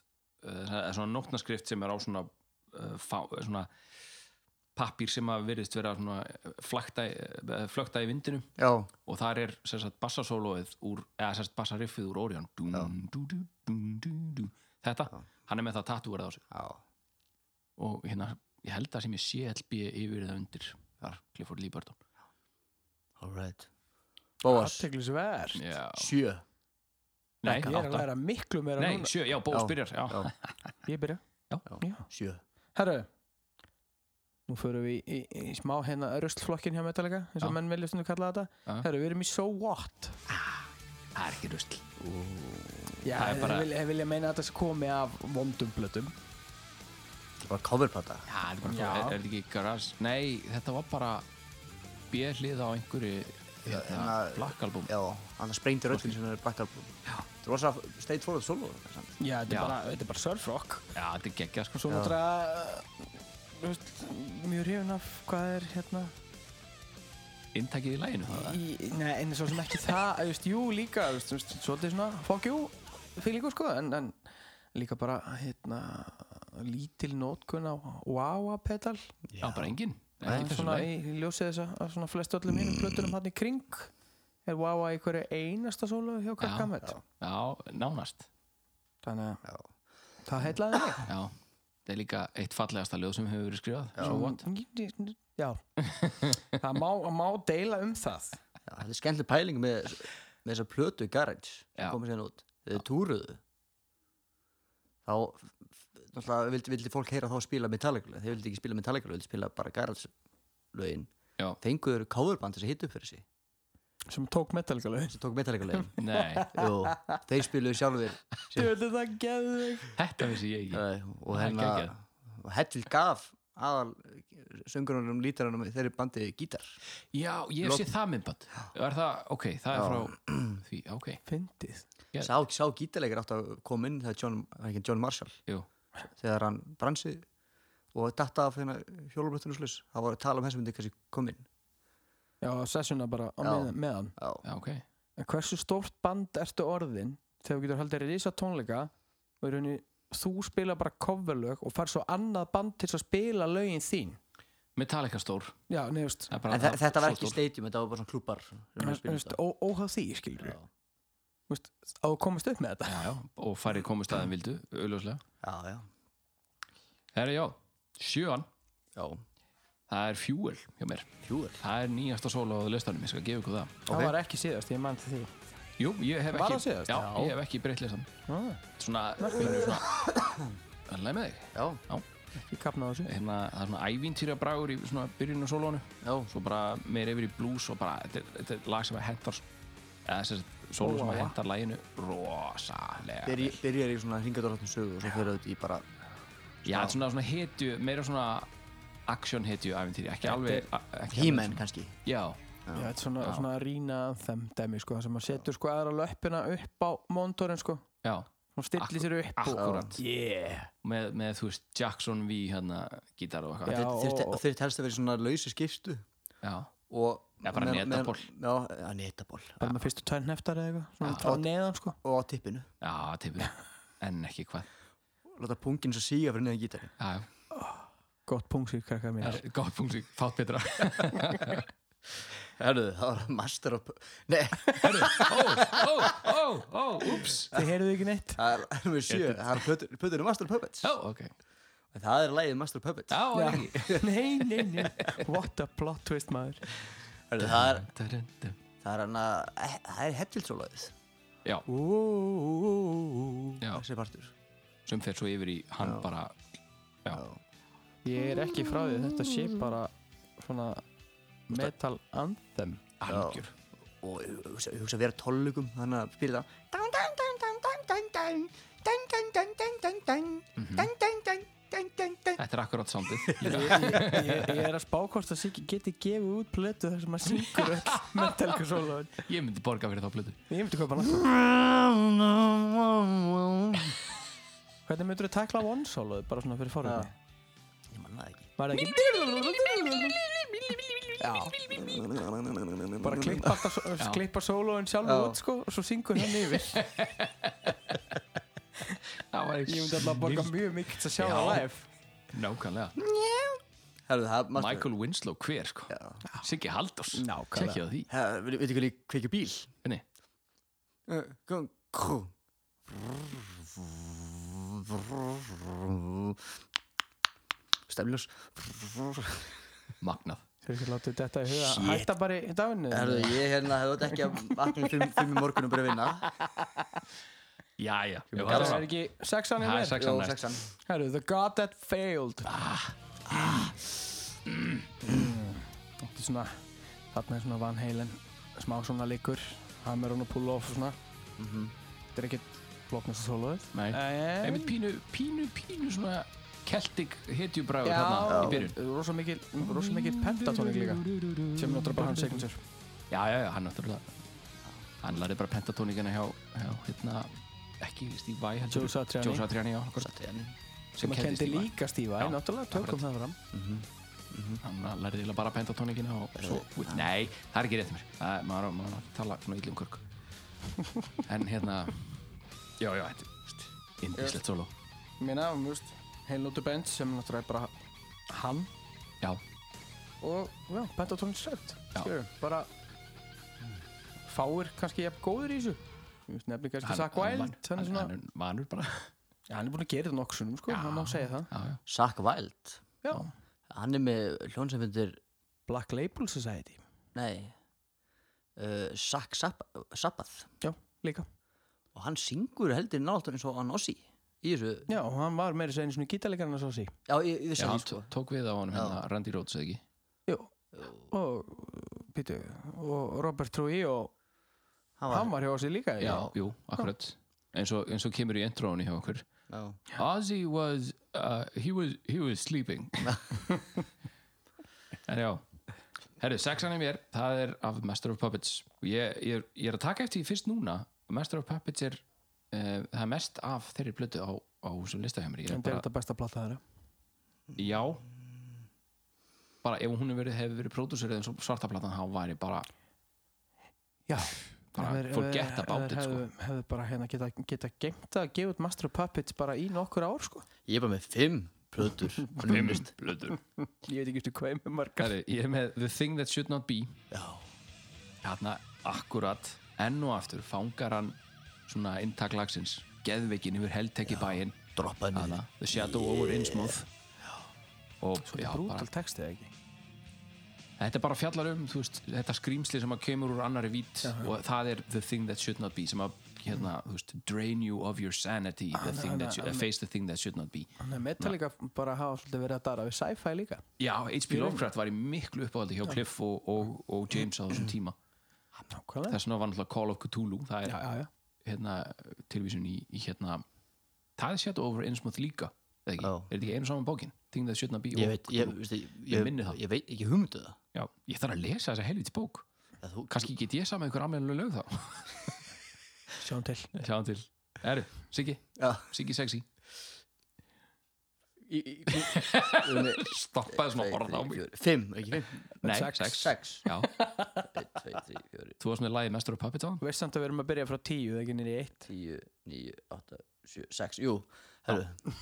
[SPEAKER 8] uh, það er svona nótnaskrift sem er á svona, uh, fá, svona pappír sem að virðist vera svona eh, flakta, uh, flökta í vindinum
[SPEAKER 7] Já,
[SPEAKER 8] og þar er sem sagt bassasólóið úr, eða sem sagt bassariffið úr Orion dún, dú, dú, dún, dú, dú. þetta, hann er með það tattúverð á sig
[SPEAKER 7] já,
[SPEAKER 8] og hérna, ég held það sem ég sé LB yfir það undir, þar, Clifford Lee Burton
[SPEAKER 7] all right Bóas,
[SPEAKER 9] Aðteglisvert Ég
[SPEAKER 8] já,
[SPEAKER 7] sjö
[SPEAKER 8] nei,
[SPEAKER 9] er að
[SPEAKER 8] átta
[SPEAKER 9] læra miklu meira
[SPEAKER 8] nei,
[SPEAKER 9] núna
[SPEAKER 8] sjö, já,
[SPEAKER 7] Já.
[SPEAKER 8] Bóas byrjar já,
[SPEAKER 7] Já.
[SPEAKER 9] Ég byrja
[SPEAKER 8] Já.
[SPEAKER 9] Já
[SPEAKER 7] Sjö
[SPEAKER 9] Herru Nú förum við í, í, í smá hérna ruslflokkin hjá Metallica eins og
[SPEAKER 8] Já.
[SPEAKER 9] menn vilja stundum kalla þetta
[SPEAKER 8] Já.
[SPEAKER 9] Herru, við erum í So What
[SPEAKER 8] það er ekki rusl
[SPEAKER 9] Já,
[SPEAKER 8] Það er
[SPEAKER 9] þeir
[SPEAKER 8] bara-
[SPEAKER 9] vilja, vilja meina að þetta komi af vondum blötum
[SPEAKER 7] Það er bara coverplata
[SPEAKER 8] já, það er bara,
[SPEAKER 9] Já.
[SPEAKER 8] er, er þetta ekki garage nei, þetta var bara bérlið á einhverju hérna,
[SPEAKER 7] hérna-
[SPEAKER 8] Black Album
[SPEAKER 7] Já, hann sprengdi röddinn sem er Black Album Það er rosa straight forward solo þarna samt.
[SPEAKER 9] Já, þetta
[SPEAKER 8] Já.
[SPEAKER 9] er bara, þetta er bara surfrock
[SPEAKER 8] já, þetta er geggja, sko
[SPEAKER 9] Svo náttúrulega þú veist, mjög hrifin af hvað er hérna
[SPEAKER 8] intakið í læginu það er
[SPEAKER 9] í, Nei, en svo sem ekki það þú veist, Jú, líka, þú veist, þú veist, svolítið svona fuck you, fylgur sko en, en líka bara, hérna lítil nótkun á wah-wah-pedal
[SPEAKER 8] já, bara engin
[SPEAKER 9] En
[SPEAKER 8] ekki
[SPEAKER 9] svona
[SPEAKER 8] svona
[SPEAKER 9] í, í ljósið þess að svona flest öllum mínum plötunum hann í kring er wah-wah í hverju einasta sólu hjá Gargamel
[SPEAKER 8] já, nánast
[SPEAKER 9] þannig að það heitlaði mig
[SPEAKER 8] Já, það er líka eitt fallegasta ljóð sem hefur verið skrifað Svo what?
[SPEAKER 9] Já, það má, má deila um það
[SPEAKER 7] Já, Þetta er skemmtileg pæling með, með þessa plötu í Garage sem
[SPEAKER 8] Já.
[SPEAKER 7] komið sérna út Þegar þau túruðu þá náttúrulega vildi, vildi fólk heyra þá spila Metallica lög. þeir vildi ekki spila Metallica lög, vildi spila bara Garage lögin
[SPEAKER 8] Já.
[SPEAKER 7] fenguður coverband þess að hita upp fyrir sig
[SPEAKER 9] sem tók metalika lögin
[SPEAKER 7] sem tók Metallica [LAUGHS] lögin
[SPEAKER 8] Nei,
[SPEAKER 7] Jú, þeir spiluðu sjálfur
[SPEAKER 9] Djöðu það geðvig
[SPEAKER 8] þetta vissi ég ekki
[SPEAKER 7] Nei, og
[SPEAKER 8] Það er
[SPEAKER 7] hérna
[SPEAKER 8] geggjað.
[SPEAKER 7] og Hedvig gaf aðal söngurunum, lítarunum þeir eru bandið gítar
[SPEAKER 8] já, ég sé það myndband er það, ok, það er frá því, ok,
[SPEAKER 9] Fyndið.
[SPEAKER 8] Já.
[SPEAKER 7] sá, sá gítarleikir átt að koma inn þegar John, var ekki John Marshall
[SPEAKER 8] jú
[SPEAKER 7] þegar hann bransi og datta af hérna hjólubröttunum slus það var að tala um þessum myndi kannski kom inn
[SPEAKER 9] Já, sessuna bara á
[SPEAKER 7] Já.
[SPEAKER 9] með, meðan.
[SPEAKER 7] já,
[SPEAKER 8] já, ok,
[SPEAKER 9] En hversu stórt band ertu orðin þegar þú getur haldið risa tónleika og í rauninni þú spila bara coverlög og far svo annað band til að spila lögin þín?
[SPEAKER 8] Metallica stór
[SPEAKER 9] Já, nefnst,
[SPEAKER 8] Það er bara-
[SPEAKER 7] en þa
[SPEAKER 8] það-
[SPEAKER 7] þetta var
[SPEAKER 8] svo
[SPEAKER 7] ekki
[SPEAKER 8] stór.
[SPEAKER 7] stadium, þetta var bara svona klúpar sem við spilum
[SPEAKER 9] nefnst
[SPEAKER 7] þetta
[SPEAKER 9] ó, óháð því, skilur við. Veist, á að komast upp með þetta.
[SPEAKER 8] Já, já, og færri komust aðeins vildu, auðljóslega
[SPEAKER 7] já, já,
[SPEAKER 8] Herra, já, sjöan,
[SPEAKER 7] já,
[SPEAKER 8] það er Fuel hjá mér
[SPEAKER 7] fjúður
[SPEAKER 8] Það er nýjasta sóla á listanum, ég skal gefa ykkur það
[SPEAKER 9] Það var ekki síðast, ég mann til því.
[SPEAKER 8] Jú, ég hef
[SPEAKER 9] Var
[SPEAKER 8] ekki
[SPEAKER 9] það síðast?
[SPEAKER 8] Já,
[SPEAKER 9] Já.
[SPEAKER 8] ég hef ekki breytt listan
[SPEAKER 9] Ah.
[SPEAKER 8] Svona, hvernig er svona [COUGHS] Þannig með þig
[SPEAKER 7] já,
[SPEAKER 9] Ég kapnaði þessu.
[SPEAKER 8] hérna, Það er svona ævintýra bragur í svona byrjun og sólónu
[SPEAKER 7] já,
[SPEAKER 8] Svo bara meir yfir í blues og bara Þetta er, þetta er lag sem að hentar Eða þessi sólu sem að hentar laginu Rosalega vel.
[SPEAKER 7] Byrj, byrjar í svona hringadólatnum sögu og svo fyrir þetta í bara
[SPEAKER 8] Já, þetta er svona, svona hetju, meira svona action hetju ævintýri Ekki alveg a- ekki alveg
[SPEAKER 7] He-Man
[SPEAKER 8] svona-
[SPEAKER 7] kannski
[SPEAKER 8] Já,
[SPEAKER 9] Já, þetta er svona, svona rína þeim dæmi, sko, þar sem maður setur sko aðra löppina upp á móntorinn, sko.
[SPEAKER 8] já
[SPEAKER 9] Hún stillir sér upp og...
[SPEAKER 8] Akkurat
[SPEAKER 9] Yeah!
[SPEAKER 8] með, með, þú veist, Jackson V hérna, gítar og eitthvað
[SPEAKER 9] Já,
[SPEAKER 7] Þeir- þeir-
[SPEAKER 9] og-
[SPEAKER 7] og þeir telst að vera í svona lausi skipstu
[SPEAKER 8] Já.
[SPEAKER 7] og
[SPEAKER 8] Já, bara
[SPEAKER 7] meðan- meðan-
[SPEAKER 8] netaból.
[SPEAKER 7] já, já, netaból
[SPEAKER 9] Bara með fyrstu tvær hneftar eða eitthvað, svona frá neðan, sko.
[SPEAKER 7] og á tippinu
[SPEAKER 8] Já, tippu
[SPEAKER 7] [LAUGHS]
[SPEAKER 8] En ekki hvað
[SPEAKER 7] láta pungin svo síga fyrir neðan gítarinn
[SPEAKER 8] Já, já
[SPEAKER 9] Gott pungsir, krakkar mér.
[SPEAKER 8] Er- Góð punktur, fátt betra
[SPEAKER 7] Herðu, það var master of Nei,
[SPEAKER 8] Ó, ó, ó, ups
[SPEAKER 9] Þið heyrðu ekki neitt?
[SPEAKER 7] það er það er með sjö Það er plötur- plötur um master of puppets
[SPEAKER 8] Já, ok Já,
[SPEAKER 7] En Það er lagið master of puppets
[SPEAKER 8] já.
[SPEAKER 9] [LAUGHS] nei, nei, nei. What a plot twist, maður.
[SPEAKER 7] Herðu, það er
[SPEAKER 8] ekki
[SPEAKER 7] Það er hann að Það er heftilsólagið
[SPEAKER 8] Já, já
[SPEAKER 7] Þessi partur
[SPEAKER 8] Sem fer svo yfir í hann bara Já,
[SPEAKER 9] Ég er ekki frá því, að þetta sé bara svona metal anthem.
[SPEAKER 8] algjör
[SPEAKER 7] Og ég hugsa, ég hugsa að vera tólugum Þannig að spila það Dun, dun, dun, dun, dun, dun. Dun, dun, dun, dun, dun, dun. Dun, dun, dun, dun, dun, dun.
[SPEAKER 8] Þetta er akkurat
[SPEAKER 9] [LAUGHS]
[SPEAKER 8] soundið
[SPEAKER 9] Ég, ég er að spákosta sig geti gefið út plötu þar sem maður syngur [LAUGHS] öll metalka sólóin.
[SPEAKER 8] Ég myndi borga fyrir þá plötu
[SPEAKER 9] Ég myndi hvað bara náttúrulega. Hvernig myndur þú tækla one soloðu bara svona fyrir forðinni?
[SPEAKER 7] Ég manna það ekki
[SPEAKER 9] Var það ekki? Já, bara klippa, alltaf so-
[SPEAKER 8] Já.
[SPEAKER 9] klippa sólóin
[SPEAKER 7] Já.
[SPEAKER 9] sjálfur út sko og svo syngur hann yfir.
[SPEAKER 8] Það var
[SPEAKER 9] [LAUGHS] Ég myndi alltaf að borga mjög mikið að sjá
[SPEAKER 8] Já.
[SPEAKER 9] það live.
[SPEAKER 8] Nákvæmlega
[SPEAKER 7] Herðu, það er master
[SPEAKER 8] Michael Winslow hver sko Siggi Haldós
[SPEAKER 9] Nákvæmlega.
[SPEAKER 8] Tjekkið á því
[SPEAKER 7] Herðu, veitu veitu hvernig kveikja bíl
[SPEAKER 8] Hvernig?
[SPEAKER 7] Uh, gung, krú. Stefnljós
[SPEAKER 8] Magnað
[SPEAKER 9] Þeir ekki látið þetta í huga. Hætta bara í daginu.
[SPEAKER 7] Herðu, ég hérna hefði þetta ekki að vakna um fimm, fimm í morgun og bara vinna
[SPEAKER 8] Jæja Ég var
[SPEAKER 9] Það
[SPEAKER 8] að-
[SPEAKER 9] er ekki sexan í
[SPEAKER 8] Það er
[SPEAKER 9] mér.
[SPEAKER 8] sexan
[SPEAKER 7] Jó,
[SPEAKER 8] næst
[SPEAKER 7] sexan
[SPEAKER 9] Herru, The God That Failed ah. Þetta er svona þarna er svona Van Halen smá svona líkur, hammer on og pull off og svona
[SPEAKER 7] Mhm.
[SPEAKER 9] Þetta er ekkert flóknast að soloðið
[SPEAKER 8] Nei. einmitt pínu, pínu, pínu svona Celtic hetjubræður hérna í
[SPEAKER 9] Já,
[SPEAKER 8] byrjun
[SPEAKER 9] rosa mikil, rosa mikil pentatónik líka sem notur bara hann sekundur
[SPEAKER 8] Já, já, já, hann náttúrulega Hann lærði bara pentatónikina hjá, hjá hérna, ekki Steve Vai heldur
[SPEAKER 9] Joe Satriani.
[SPEAKER 8] Joe Satriani, já, akkurat
[SPEAKER 9] sem að kendi
[SPEAKER 8] Steve Vai.
[SPEAKER 9] líka stífa,
[SPEAKER 8] Já,
[SPEAKER 9] en náttúrulega tökum það fram
[SPEAKER 8] Hann lærði eiginlega bara pentatónikina og svo Nei, það er ekki rétt mér Það er, maður, maður að tala svona illum
[SPEAKER 9] [LAUGHS]
[SPEAKER 8] körk En hérna Já, já, þetta er indislegt solo
[SPEAKER 9] Ég meina, um, veist, heilnótu band sem náttúrulega er bara hann
[SPEAKER 8] Já,
[SPEAKER 9] og já, pentatónik sett
[SPEAKER 8] Já.
[SPEAKER 9] Skilurðu, bara fáir kannski jafn góður í þessu Ég veist, nefnir kannski Zack
[SPEAKER 8] hann,
[SPEAKER 9] Wild hann,
[SPEAKER 8] hann,
[SPEAKER 9] svona,
[SPEAKER 8] hann er vanur bara
[SPEAKER 9] já, hann er búin að gera þetta nokksunum sko, hann má segja það
[SPEAKER 8] Já, já,
[SPEAKER 7] Sack Wild
[SPEAKER 9] já.
[SPEAKER 7] Hann er með hljón sem myndir
[SPEAKER 9] Black Label Society
[SPEAKER 7] Nei uh, Sack Sab Sabbath
[SPEAKER 9] já, líka
[SPEAKER 7] Og hann syngur heldur náttúrulega eins og hann Ossi Í þessu
[SPEAKER 9] já, og hann var meira segni svona gítarleikarinn að svo sí
[SPEAKER 7] Já, í, í
[SPEAKER 8] já
[SPEAKER 7] þessu
[SPEAKER 8] hann
[SPEAKER 7] sko
[SPEAKER 8] tó- tók við á hann hérna, Randy Rhodes, eða ekki?
[SPEAKER 9] Jú. og Pítu, og Robert Trujillo
[SPEAKER 7] Hann
[SPEAKER 9] hann var hjá sér líka í-
[SPEAKER 8] Já, jú, akkurat eins og, eins og kemur í intro-unni hjá okkur
[SPEAKER 7] Já,
[SPEAKER 8] Ozzy was uh, he, was, he was sleeping En já Herru, sexan í mér, það er af Master of Puppets og ég, ég, er- ég er að taka eftir því fyrst núna að Master of Puppets er uh, það er mest af þeirri blötu á, á sem listahjömmur
[SPEAKER 9] En það er þetta besta plata þeirra
[SPEAKER 8] Já bara ef hún hefur verið, hefur verið pródúsur eða svarta platan, þá væri bara
[SPEAKER 9] Já
[SPEAKER 8] Bara
[SPEAKER 9] Ef þeir- ef
[SPEAKER 8] forget
[SPEAKER 9] þeir-
[SPEAKER 8] about
[SPEAKER 9] ef þeir
[SPEAKER 8] it, sko.
[SPEAKER 9] hefðu- Hefðu bara hérna geta, geta geimt að gefa út Master of Puppets bara í nokkur ár sko
[SPEAKER 7] Ég er bara með fimm plötur Fimmist
[SPEAKER 8] blötu
[SPEAKER 9] Ég veit ekki eftir hvað ég er með margar
[SPEAKER 8] Herru, ég er með The Thing That Should Not Be
[SPEAKER 7] Já
[SPEAKER 8] þarna akkurat enn og aftur fangar hann svona inntak lagsins geðveikin yfir heldtekki bæinn
[SPEAKER 7] Droppaði niður.
[SPEAKER 8] Þarna, The Shadow over Innsmouth og já, bara,
[SPEAKER 9] Brútal textið ekki
[SPEAKER 8] þetta er bara fjallar um þú veist, þetta skrýmsli sem að kemur úr annari vít og það er The Thing That Should Not Be sem að hérna, þú veist, drain you of your sanity the thing that should, face the thing that should not be
[SPEAKER 9] Þannig að Metallica bara hafa svolítið verið að dara við sci-fi líka
[SPEAKER 8] já, H.P. Lovecraft var í miklu uppáhaldi hjá Cliff og, og, og James á þessum tíma
[SPEAKER 9] Nákvæmlega
[SPEAKER 8] þess vegna var náttúrulega Call of Cthulhu það er
[SPEAKER 9] Já, já, já
[SPEAKER 8] hérna, tilvísun í, í hérna það er Shadow over Innsmouth líka eða ekki,
[SPEAKER 7] Já.
[SPEAKER 8] er þetta ekki einu saman bókin Thing that should not be
[SPEAKER 7] Ég
[SPEAKER 8] og-
[SPEAKER 7] veit, ég, veist, ég,
[SPEAKER 8] Ég
[SPEAKER 7] ég,
[SPEAKER 8] minni það.
[SPEAKER 7] ég veit ekki hugmyndu það
[SPEAKER 8] Já, ég þarf að lesa þessa helvits bók
[SPEAKER 7] Eða þú,
[SPEAKER 8] kannski get ég saman einhver ammæluleg lög þá
[SPEAKER 9] Sjáum til
[SPEAKER 8] sjáum til, eru, Siggi
[SPEAKER 7] Já.
[SPEAKER 8] Siggi sexy,
[SPEAKER 7] í, í, í, [LAUGHS]
[SPEAKER 8] stoppaði svona orð á mig
[SPEAKER 7] Fimm, ekki fimm
[SPEAKER 8] nei,
[SPEAKER 9] Sex.
[SPEAKER 8] sex,
[SPEAKER 7] Sex
[SPEAKER 8] já,
[SPEAKER 7] Einn, tvei, þrjú, fjóri,
[SPEAKER 8] þú varst með lagið Master of Puppets á
[SPEAKER 9] Þú veist samt að við erum að byrja frá tíu, það er ekki nýri eitt
[SPEAKER 7] tíu, níu, átta, sjö, sex Jú, herru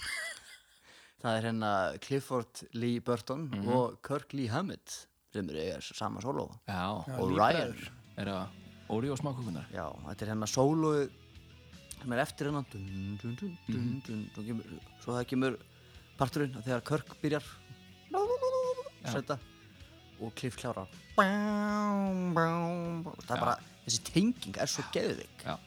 [SPEAKER 7] Það er hérna Clifford Lee Burton og Kirk Lee Hammett sem eru eiga sama sóló
[SPEAKER 8] já,
[SPEAKER 7] og Ryan
[SPEAKER 9] líbræður.
[SPEAKER 8] er það Óri og smákukunar
[SPEAKER 7] Já, þetta er hérna sólu sem er eftir hennan dun, dun, dun, dun,
[SPEAKER 8] Mhm.
[SPEAKER 7] dun, dun, kemur, svo það kemur parturinn að þegar Körk byrjar setta og Cliff klárar Bám, bám, bám. það er bara, þessi tenging er svo geðvik
[SPEAKER 8] Já.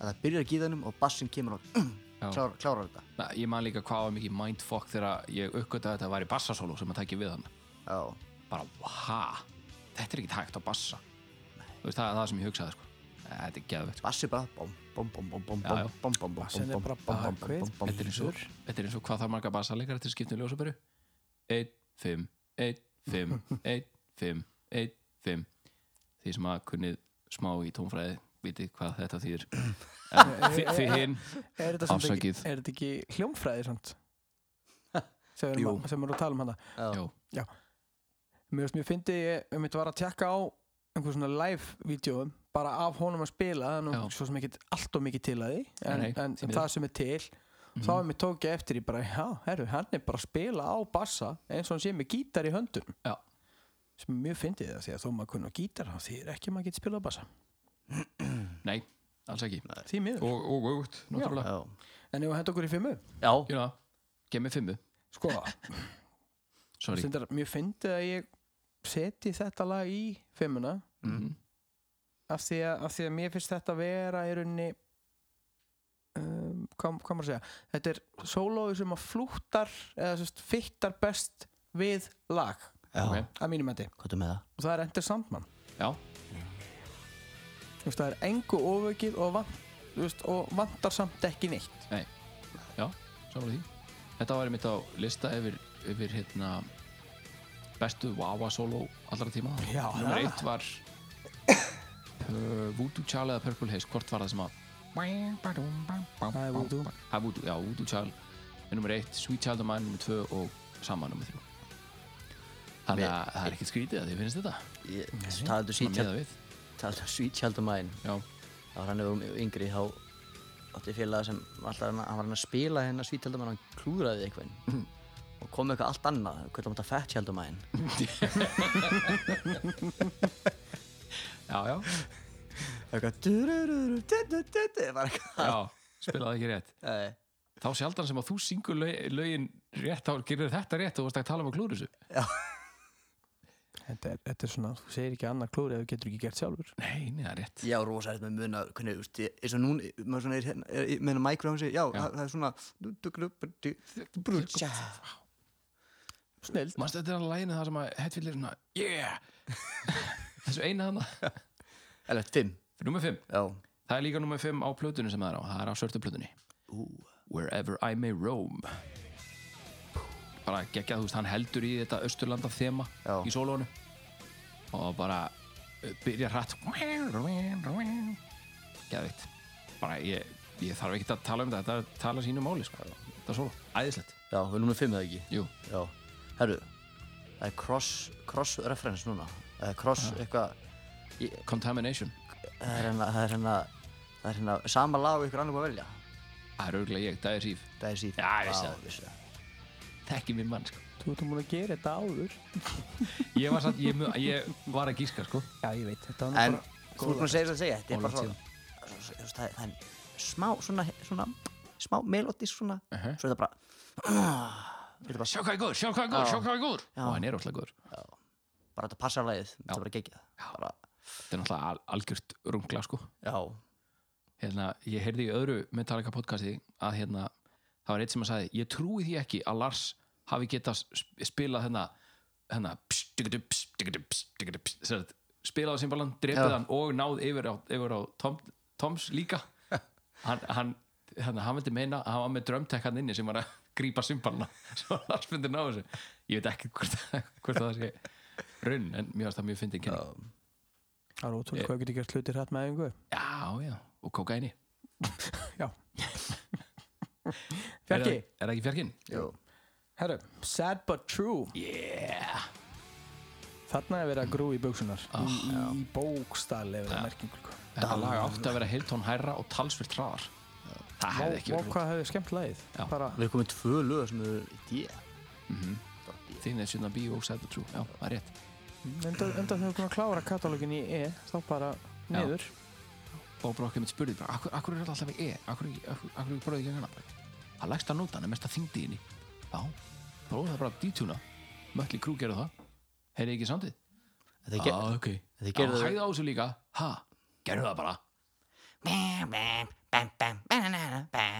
[SPEAKER 7] að það byrjar að gíðanum og bassin kemur og
[SPEAKER 8] Já.
[SPEAKER 7] klárar, klárar þetta
[SPEAKER 8] ég man líka hvað var mikið mindfuck þegar ég uppgötaði að þetta væri bassasólu sem að tækja við hann
[SPEAKER 7] Já,
[SPEAKER 8] bara, ha, þetta er ekki hægt á bassa þú veist, það er það sem ég hugsaði sko. þetta er geðvegt sko.
[SPEAKER 7] bassi bara bám, bám, bám, bám, bám,
[SPEAKER 8] Já, já.
[SPEAKER 7] bám, bám, bám,
[SPEAKER 9] Bassin er
[SPEAKER 7] bám,
[SPEAKER 9] bara
[SPEAKER 7] bám, bám,
[SPEAKER 9] bakvið.
[SPEAKER 7] bám, bám,
[SPEAKER 8] þetta er eins og, þetta er eins og hvað þarf marga bassaleikar til um skiptum ljósabæru 1, 5, 1, 5 [LAUGHS] 1, 5, 1, 5 því sem að kunnið smá í tónfræði vitið hvað þetta þýðir en þi- þið hinn
[SPEAKER 9] Er þetta samt ekki,
[SPEAKER 8] Afsakið.
[SPEAKER 9] er þetta ekki hljómfræði
[SPEAKER 8] [LAUGHS]
[SPEAKER 9] samt? sem, við erum
[SPEAKER 7] Jú.
[SPEAKER 9] að, sem við erum að tala um hana
[SPEAKER 8] já,
[SPEAKER 9] Mér finnst, mér fyndi, ég mitt var að tjekka á einhver svona live-vídeóum bara af honum að spila, þannig
[SPEAKER 8] Já.
[SPEAKER 9] að svo sem ekki allt og mikið til að því en,
[SPEAKER 8] Nei,
[SPEAKER 9] en
[SPEAKER 8] nei, því miður. Mhm.
[SPEAKER 9] það sem er til þá er mér tókið eftir í bara, já, herru, hann er bara að spila á bassa eins og hann sé með gítar í höndum
[SPEAKER 8] Já.
[SPEAKER 9] sem er mjög fyndið það, því að þó maður kunna á gítar þá þýðir ekki að maður getur spilað á bassa
[SPEAKER 8] nei, alls ekki
[SPEAKER 9] því miður,
[SPEAKER 8] og, og, og, náttúrulega
[SPEAKER 7] Já,
[SPEAKER 9] en ef við hendur okkur í fimmu
[SPEAKER 7] já,
[SPEAKER 8] you know, gemmi Hérna, fimmu,
[SPEAKER 9] sko,
[SPEAKER 8] sorry
[SPEAKER 9] Stundar, mér fyndið að ég seti þetta lag í fimmuna
[SPEAKER 8] Mhm.
[SPEAKER 9] af því, að, af því að mér finnst þetta vera í rauninni um, hvað, hvað maður að segja þetta er sólói sem að flúttar eða sérst, fittar best við lag
[SPEAKER 7] já,
[SPEAKER 8] Ok.
[SPEAKER 9] að mínum endi
[SPEAKER 7] hvað er með það?
[SPEAKER 9] og það er Ender Sandman
[SPEAKER 8] já,
[SPEAKER 9] Þú veist, það er engu ofökið og, vant, þú veist, og vantar samt ekki neitt
[SPEAKER 8] nei, já, samlega því þetta var einmitt á lista yfir, yfir hérna bestu Wawa solo allra tíma
[SPEAKER 9] Já,
[SPEAKER 8] nummer
[SPEAKER 9] það.
[SPEAKER 8] eitt var uh, Voodoo Child eða Purple Haze hvort var það sem að
[SPEAKER 9] Það er Voodoo.
[SPEAKER 8] Það er Voodoo, já, Voodoo Child er nummer eitt, Sweet Child of Mine nummer tvö og Saman nummer þrjú þannig að það er ekkert skrítið að þið finnst þetta
[SPEAKER 7] Ég, talaðu
[SPEAKER 8] svona
[SPEAKER 7] sýtjald
[SPEAKER 8] meða við
[SPEAKER 7] talað svítjaldum mæn
[SPEAKER 8] já,
[SPEAKER 7] þá var hann um yngri þá átti félaga sem alltaf hann, hann var hann að spila hérna svítjaldum hann klúðraði eitthvað og kom með eitthvað allt annað hvernig hann þetta fettjaldum mæn
[SPEAKER 8] já, já,
[SPEAKER 7] eitthvað durururu, du- du- du- du, bara eitthvað
[SPEAKER 8] já spilaði ekki rétt
[SPEAKER 7] Nei,
[SPEAKER 8] þá sjaldan sem að þú syngur lög, lögin rétt, þá gerir þetta rétt og þú varst að tala um að klúður þessu
[SPEAKER 9] þetta er, þetta er svona, þú segir ekki annar klúri ef þú getur ekki gert sjálfur
[SPEAKER 8] Nei, nei, það er rétt
[SPEAKER 7] ég á rosa hérna með muna hvernig, þú veist, ég- eins og nún maður svona er hérna, er- er- meðan mækur á hann segir já, það það er svona du- du- du- du- du- du- du- tja.
[SPEAKER 9] snill,
[SPEAKER 8] Manstu þetta er að læginu það sem að Hetfield er svona Yeah! [LAUGHS] Þessu eina hana
[SPEAKER 7] eða fimm
[SPEAKER 8] Númer 5,
[SPEAKER 7] já,
[SPEAKER 8] það er líka númer 5 á plötunni sem það er á Það er á sörtu plötunni Wherever I may roam bara geggjað, þú veist, hann heldur í þetta Östurlanda þema
[SPEAKER 7] Já.
[SPEAKER 8] í sólónu og bara uh, byrjar hratt geðvitt bara ég, ég þarf ekki að tala um þetta þetta tala sínu máli, sko þetta er sóló, æðislegt
[SPEAKER 7] Já, við erum með fimm eða ekki
[SPEAKER 8] Jú.
[SPEAKER 7] Já, herru Það er cross, cross reference núna Eða cross eitthvað
[SPEAKER 8] Contamination,
[SPEAKER 7] Það er hérna, það er hérna Það er hérna sama lag og ykkur annar búið að velja
[SPEAKER 8] það er örgulega ég, það er síf
[SPEAKER 7] Það er síð
[SPEAKER 8] Já, ég vissi það.
[SPEAKER 7] vissi það
[SPEAKER 8] þekki minn mann, sko
[SPEAKER 9] Þú ert að múin að gera þetta áður
[SPEAKER 8] ég var, satt, ég, mu- ég var að gíska, sko
[SPEAKER 9] Já, ég veit, þetta var
[SPEAKER 7] En
[SPEAKER 9] nú
[SPEAKER 7] þú erum búin að segja það að segja Þetta er
[SPEAKER 8] Góð
[SPEAKER 7] bara
[SPEAKER 8] langt
[SPEAKER 7] svona svo- svo- Það er- það er smá svona, svona Smá melodísk svona
[SPEAKER 8] Mhm.
[SPEAKER 7] Svo er þetta bara Þetta er bara,
[SPEAKER 8] sjá hvað er góður, sjá hvað er góður,
[SPEAKER 7] Já.
[SPEAKER 8] sjá hvað er góður
[SPEAKER 7] Já.
[SPEAKER 8] og hann er óslega góður
[SPEAKER 7] bara þetta passar lagið Þetta er bara geggjað Bara,
[SPEAKER 8] þetta er náttúrulega al algjört rungla sko
[SPEAKER 7] já
[SPEAKER 8] hérna, ég heyrði í öðru Metallica podcasti að hérna, það var eitt sem að sagði ég trúi því ekki að Lars hafi getað sp- spilað hérna, hérna pss, diggudu, pss, diggudu, pss, diggudu, pss, sem sagt, spilað á simbalan, drepið
[SPEAKER 7] Já.
[SPEAKER 8] hann og náð yfir á, yfir á Tom, Toms líka hann, hann, hérna, hann vildi meina að hann var með drömtek hann inni sem var að grípa simbalana [LAUGHS] svo að Lars myndi ná þessu ég veit ekki hvort, hvort það sé runn en mér varst það mjög fyndið kynning
[SPEAKER 9] Það er ótrúlega hvað getur gert hlutir hrætt með einhver
[SPEAKER 8] já, já, og kókaini [LAUGHS]
[SPEAKER 9] Já
[SPEAKER 8] er,
[SPEAKER 9] Fjarki,
[SPEAKER 8] það- er það ekki fjarkinn?
[SPEAKER 9] herru, sad but true
[SPEAKER 8] Yeah
[SPEAKER 9] Þarna er verið að grú í buksunar
[SPEAKER 8] Ah,
[SPEAKER 9] oh, Í, í bókstall er verið að merkingu sko.
[SPEAKER 8] Þetta lag átti að vera heiltón hærra og talsvirt hraðar Það hefði ekki
[SPEAKER 9] Vá,
[SPEAKER 8] verið
[SPEAKER 9] hvað hefði skemmt lagið
[SPEAKER 8] Já.
[SPEAKER 9] Bara,
[SPEAKER 7] Við erum komið tvö lög sem eru í D
[SPEAKER 8] út Mhm. Þín er sjöna bíó og sæta trú Já, það er rétt
[SPEAKER 9] enda, enda þegar við komum að klára katalógin í E Þá bara niður
[SPEAKER 8] Bob Rockheim mitt spurði bara Akkur, akkur er þetta alltaf í E? Akkur, ekki- akkur, akkur er bróðið í gangana? Það lægst að nota hann er mest að þyngdi inni Já, bróðið það bara að detuna Mötli krú gerðu það Heyrið ekki samtid?
[SPEAKER 7] Þetta er geggjað.
[SPEAKER 8] ok
[SPEAKER 7] Þeir
[SPEAKER 8] Já,
[SPEAKER 7] gerðu það-
[SPEAKER 8] hæða á þessu líka Ha, gerðu það bara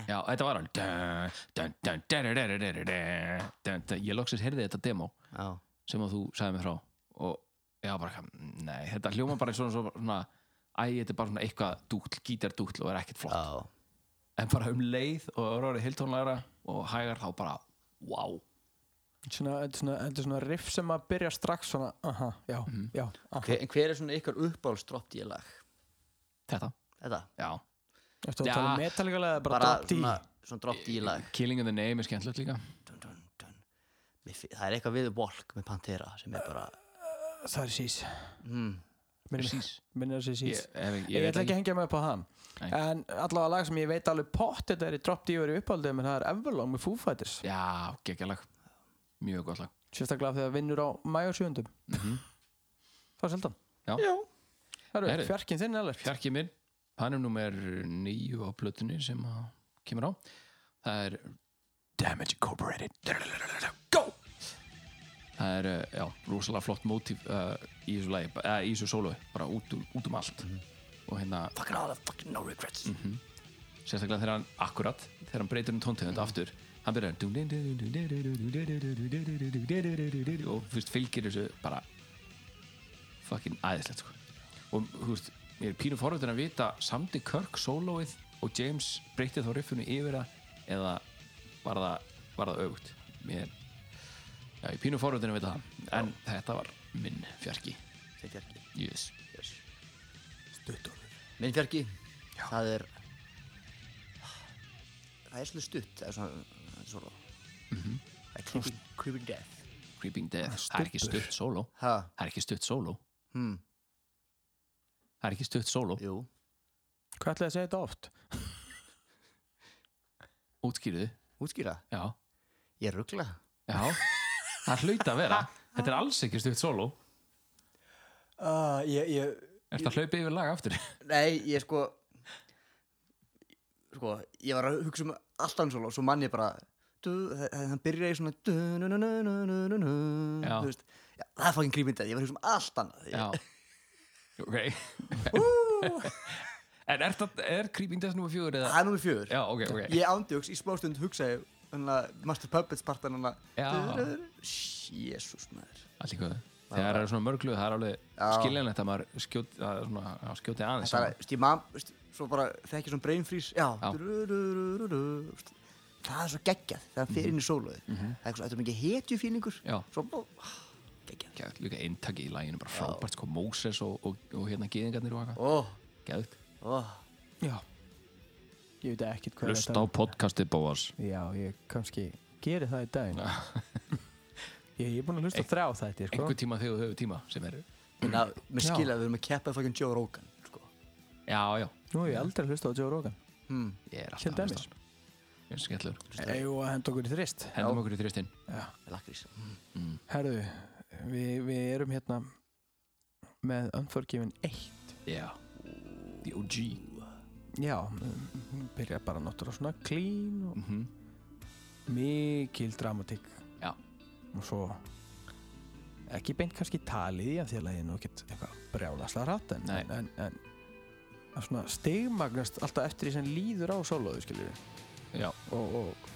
[SPEAKER 8] Já, þetta var alveg Dun, dun, dun, dun, dun, dun, dun, dun, dun, dun. Ég loksins heyrði þetta demo
[SPEAKER 7] Já,
[SPEAKER 8] sem að þú sagði mér frá og ég var bara, eitthvað, nei, þetta hljóma bara eins og svona, svona æ, þetta er bara svona eitthvað dúll, gítardúll og er ekkert flott
[SPEAKER 7] já,
[SPEAKER 8] en bara um leið og er orðið hiltónlegra og hægar þá bara, wow
[SPEAKER 9] svona, þetta er svona, þetta er svona riff sem að byrja strax svona Aha, já,
[SPEAKER 8] Mhm.
[SPEAKER 9] já aha.
[SPEAKER 7] Hver, en hver er svona ykkar uppáhaldsdropp í lag?
[SPEAKER 8] þetta,
[SPEAKER 7] Þetta?
[SPEAKER 8] já,
[SPEAKER 9] Eftir
[SPEAKER 8] Já.
[SPEAKER 9] að tala metalíkulega eða bara,
[SPEAKER 7] Bara
[SPEAKER 9] bara
[SPEAKER 7] svona, svona dropp í lag
[SPEAKER 8] Killing in the Name er skemmtilegt líka
[SPEAKER 7] dun, dun, dun. Mér fi- Það er eitthvað við Walk með Pantera sem er bara
[SPEAKER 9] Það er sís
[SPEAKER 7] mm,
[SPEAKER 9] Minnir
[SPEAKER 8] Sís.
[SPEAKER 9] minnir það sér
[SPEAKER 8] ég,
[SPEAKER 9] sís
[SPEAKER 8] ef, ég,
[SPEAKER 9] Ég,
[SPEAKER 8] veit
[SPEAKER 9] ætla ekki að hengja mig upp á hann
[SPEAKER 8] Nei.
[SPEAKER 9] En allavega lag sem ég veit alveg pott Þetta er í Drop D og er í uppáldum En það er Everlong með Foo Fighters
[SPEAKER 8] já, geggjalag, mjög gott lag
[SPEAKER 9] Sérstaklega af því að það vinnur á mæjur 7. Það er seldan
[SPEAKER 8] Mhm. Já.
[SPEAKER 9] Það
[SPEAKER 8] Heyrðu.
[SPEAKER 9] eru fjarkinn þinn alveg
[SPEAKER 8] fjarkið minn, hann er nummer nýju á plötunni sem að kemur á það er Damage Incorporated Go! Það er, uh, já, rosalega flott mótíf uh, í þessu lagi, uh, í þessu sóloi bara út, um- út um allt og hérna,
[SPEAKER 7] Fucking all the fucking no regrets
[SPEAKER 8] sérstaklega þegar hann akkurat, þegar hann breytir um tóntegund aftur hann byrjar og fyrst fylgir þessu bara fucking æðislegt sko. og þú veist, ég er pínu forvöldin að vita samdi Kirk sólóið og James breytið þá riffinu yfir það eða var það, var það auðvögt mér já, ég er pínu forvöldin að vita það en þetta var minn fjarki
[SPEAKER 7] Þinn fjarki
[SPEAKER 8] yes.
[SPEAKER 7] yes. Minn fjarki Það er Það er svona stutt Það er svona, það er svona. Það er creeping, creeping death
[SPEAKER 8] Creeping Death, það er ekki stutt sóló
[SPEAKER 7] Ha,
[SPEAKER 8] það er ekki stutt sóló
[SPEAKER 7] hmm,
[SPEAKER 8] það er ekki stutt sóló
[SPEAKER 7] jú
[SPEAKER 9] Hvað ætlaði að segja þetta oft?
[SPEAKER 8] útskýrðu
[SPEAKER 7] Útskýra?
[SPEAKER 8] já,
[SPEAKER 7] Ég ruggla
[SPEAKER 8] já það hlaut að vera, þetta er alls ekki stutt sóló
[SPEAKER 9] Uh, ég, ég,
[SPEAKER 8] er þetta hlaupið yfir lag aftur
[SPEAKER 7] Nei, ég sko Sko, ég var að hugsa um alltaf eins og svo mann ég bara du, hann byrja í svona du, nu, nu, nu, nu, nu, nu, nu,
[SPEAKER 8] Já.
[SPEAKER 7] þú veist, já, það er fokkin grímyndið, ég var að hugsa um allt annað
[SPEAKER 8] já ok [LAUGHS] en er, það, er Creeping Death nr. 4 eða
[SPEAKER 7] Það er númur fjögur
[SPEAKER 8] já, ok, ok
[SPEAKER 7] Ég ándjóks í smástund hugsaði hana, Master Puppets partan hana
[SPEAKER 8] Já.
[SPEAKER 7] Jésús maður
[SPEAKER 8] allt í góðu þegar það er svona mörgluð, það er alveg
[SPEAKER 7] Já.
[SPEAKER 8] skiljanlegt að maður skjóti, að svona, að skjóti aðeins
[SPEAKER 7] Það er, veist, ég man, veist, svo bara þekki svona brain freeze Já,
[SPEAKER 8] Já.
[SPEAKER 7] Du, du, du, du, du, du, veist, það er svo geggjað þegar hann fer inn í sólóið það er eitthvað, þetta er mikið hetjufílingur
[SPEAKER 8] Mhm. Já.
[SPEAKER 7] svo bó, geggjað
[SPEAKER 8] Geðveikt. líka inntaki í læginu bara frábært sko Moses og, og, og hérna gýðingarnir og eitthvað
[SPEAKER 7] ó,
[SPEAKER 8] Gæðugt
[SPEAKER 7] ó,
[SPEAKER 9] Já Ég veit ekkert hvað
[SPEAKER 8] Hlusta á podcastið Bóas
[SPEAKER 9] Já, ég kannski geri það í daginn Ég, ég er búin að hlusta á þrjá þætti sko.
[SPEAKER 8] Einhver tíma þegar þú hefur tíma sem er
[SPEAKER 7] en að mér
[SPEAKER 9] Já.
[SPEAKER 7] skilja að við erum að keppa fucking Joe Rogan sko.
[SPEAKER 8] Já, já,
[SPEAKER 9] Nú hef ég aldrei hlusta á Joe Rogan
[SPEAKER 7] hmm.
[SPEAKER 8] ég er alltaf
[SPEAKER 9] Til
[SPEAKER 8] að
[SPEAKER 9] dæmis.
[SPEAKER 8] hlusta á hann. Ég er skellur
[SPEAKER 9] Egu að henda okkur í þrist
[SPEAKER 8] Hendum okkur í þristinn
[SPEAKER 7] lakrís
[SPEAKER 9] Herðu, við, við erum hérna með Unforgiven 1
[SPEAKER 8] Já, the OG
[SPEAKER 9] Já, mm, hún byrjar bara náttúrulega svona clean og
[SPEAKER 8] Mhm.
[SPEAKER 9] mikil dramatík
[SPEAKER 8] Já.
[SPEAKER 9] og svo ekki beint kannski talið í að því að leiði nú ekkert eitthvað brjálaslega hratt en,
[SPEAKER 8] Nei.
[SPEAKER 9] en, en, en að svona stigmagnast alltaf eftir því sem líður á sólóðu skiljur
[SPEAKER 8] Já,
[SPEAKER 9] og, og,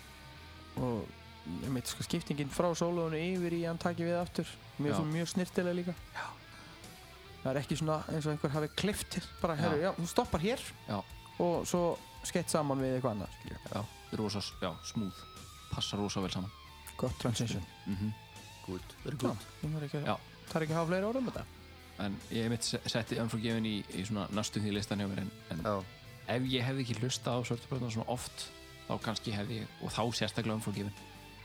[SPEAKER 9] og ég meit sko skiptingin frá sólóðunni yfir í að hann taki við aftur mjög,
[SPEAKER 8] Já.
[SPEAKER 9] svona, mjög snirtilega líka já. það er ekki svona eins og einhver hafi kliftir bara,
[SPEAKER 8] Já.
[SPEAKER 9] herru, já, hún stoppar hér
[SPEAKER 8] Já.
[SPEAKER 9] og svo skeitt saman við eitthvað annað skilur.
[SPEAKER 8] já, rosa, já, smúð Passar rosa vel saman
[SPEAKER 9] gott transition
[SPEAKER 8] mm
[SPEAKER 7] good, very
[SPEAKER 9] Já,
[SPEAKER 7] good
[SPEAKER 9] ég þarf ekki,
[SPEAKER 8] Já.
[SPEAKER 9] að- þarf ekki að hafa fleiri orðum þetta
[SPEAKER 8] En ég mitt setti Unforgiven í, í svona næstu því listan hjá mér en, en
[SPEAKER 7] Já.
[SPEAKER 8] ef ég hefði ekki hlustað á Svörtubröðna svona oft þá kannski hefði ég, og þá sérstaklega Unforgiven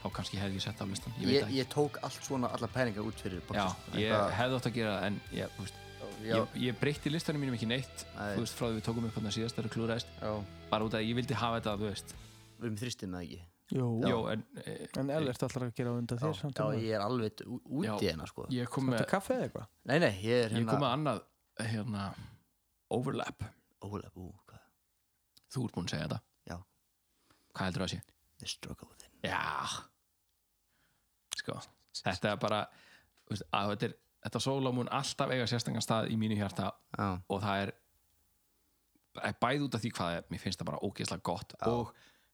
[SPEAKER 8] þá kannski hefði ég sett á listan Ég veit
[SPEAKER 7] ég,
[SPEAKER 8] það ekki
[SPEAKER 7] ég tók allt svona alla pælingar út fyrir
[SPEAKER 8] Já,
[SPEAKER 7] podcast.
[SPEAKER 8] ég
[SPEAKER 7] Eitthvað-
[SPEAKER 8] hefði átt að gera það en ég, þú veist,
[SPEAKER 7] já,
[SPEAKER 8] ég, ég breytti listanum mínum ekki neitt
[SPEAKER 7] Nei.
[SPEAKER 8] þú veist, frá því við tókum upp hann síðast þegar klúraðist
[SPEAKER 7] já,
[SPEAKER 8] bara út af að ég vildi hafa þetta, þú veist
[SPEAKER 7] við erum þristið með ekki
[SPEAKER 9] Jú.
[SPEAKER 8] Jó, en e,
[SPEAKER 9] en ellert ætlar að gera á undan þér samt
[SPEAKER 7] já,
[SPEAKER 9] um að-
[SPEAKER 7] ég er alveg ú- úti
[SPEAKER 8] Já.
[SPEAKER 7] hérna sko
[SPEAKER 8] ég kom
[SPEAKER 9] Þetta
[SPEAKER 8] með
[SPEAKER 9] er kaffe eða eitthvað
[SPEAKER 7] nei, nei, ég er
[SPEAKER 8] ég kom með
[SPEAKER 7] hérna
[SPEAKER 8] annað hérna, overlap
[SPEAKER 7] ólega bú, hvað,
[SPEAKER 8] þú ert búinn að segja þetta
[SPEAKER 7] Já.
[SPEAKER 8] hvað heldur það að sé?
[SPEAKER 7] the struggle with it
[SPEAKER 8] Já sko, þetta er bara þú veist, að þetta er þetta sóla mun alltaf eiga sérstakann stað í mínu hjarta
[SPEAKER 7] já,
[SPEAKER 8] og það er er bæði út af því hvað það er, mér finnst það bara ógeðslega gott og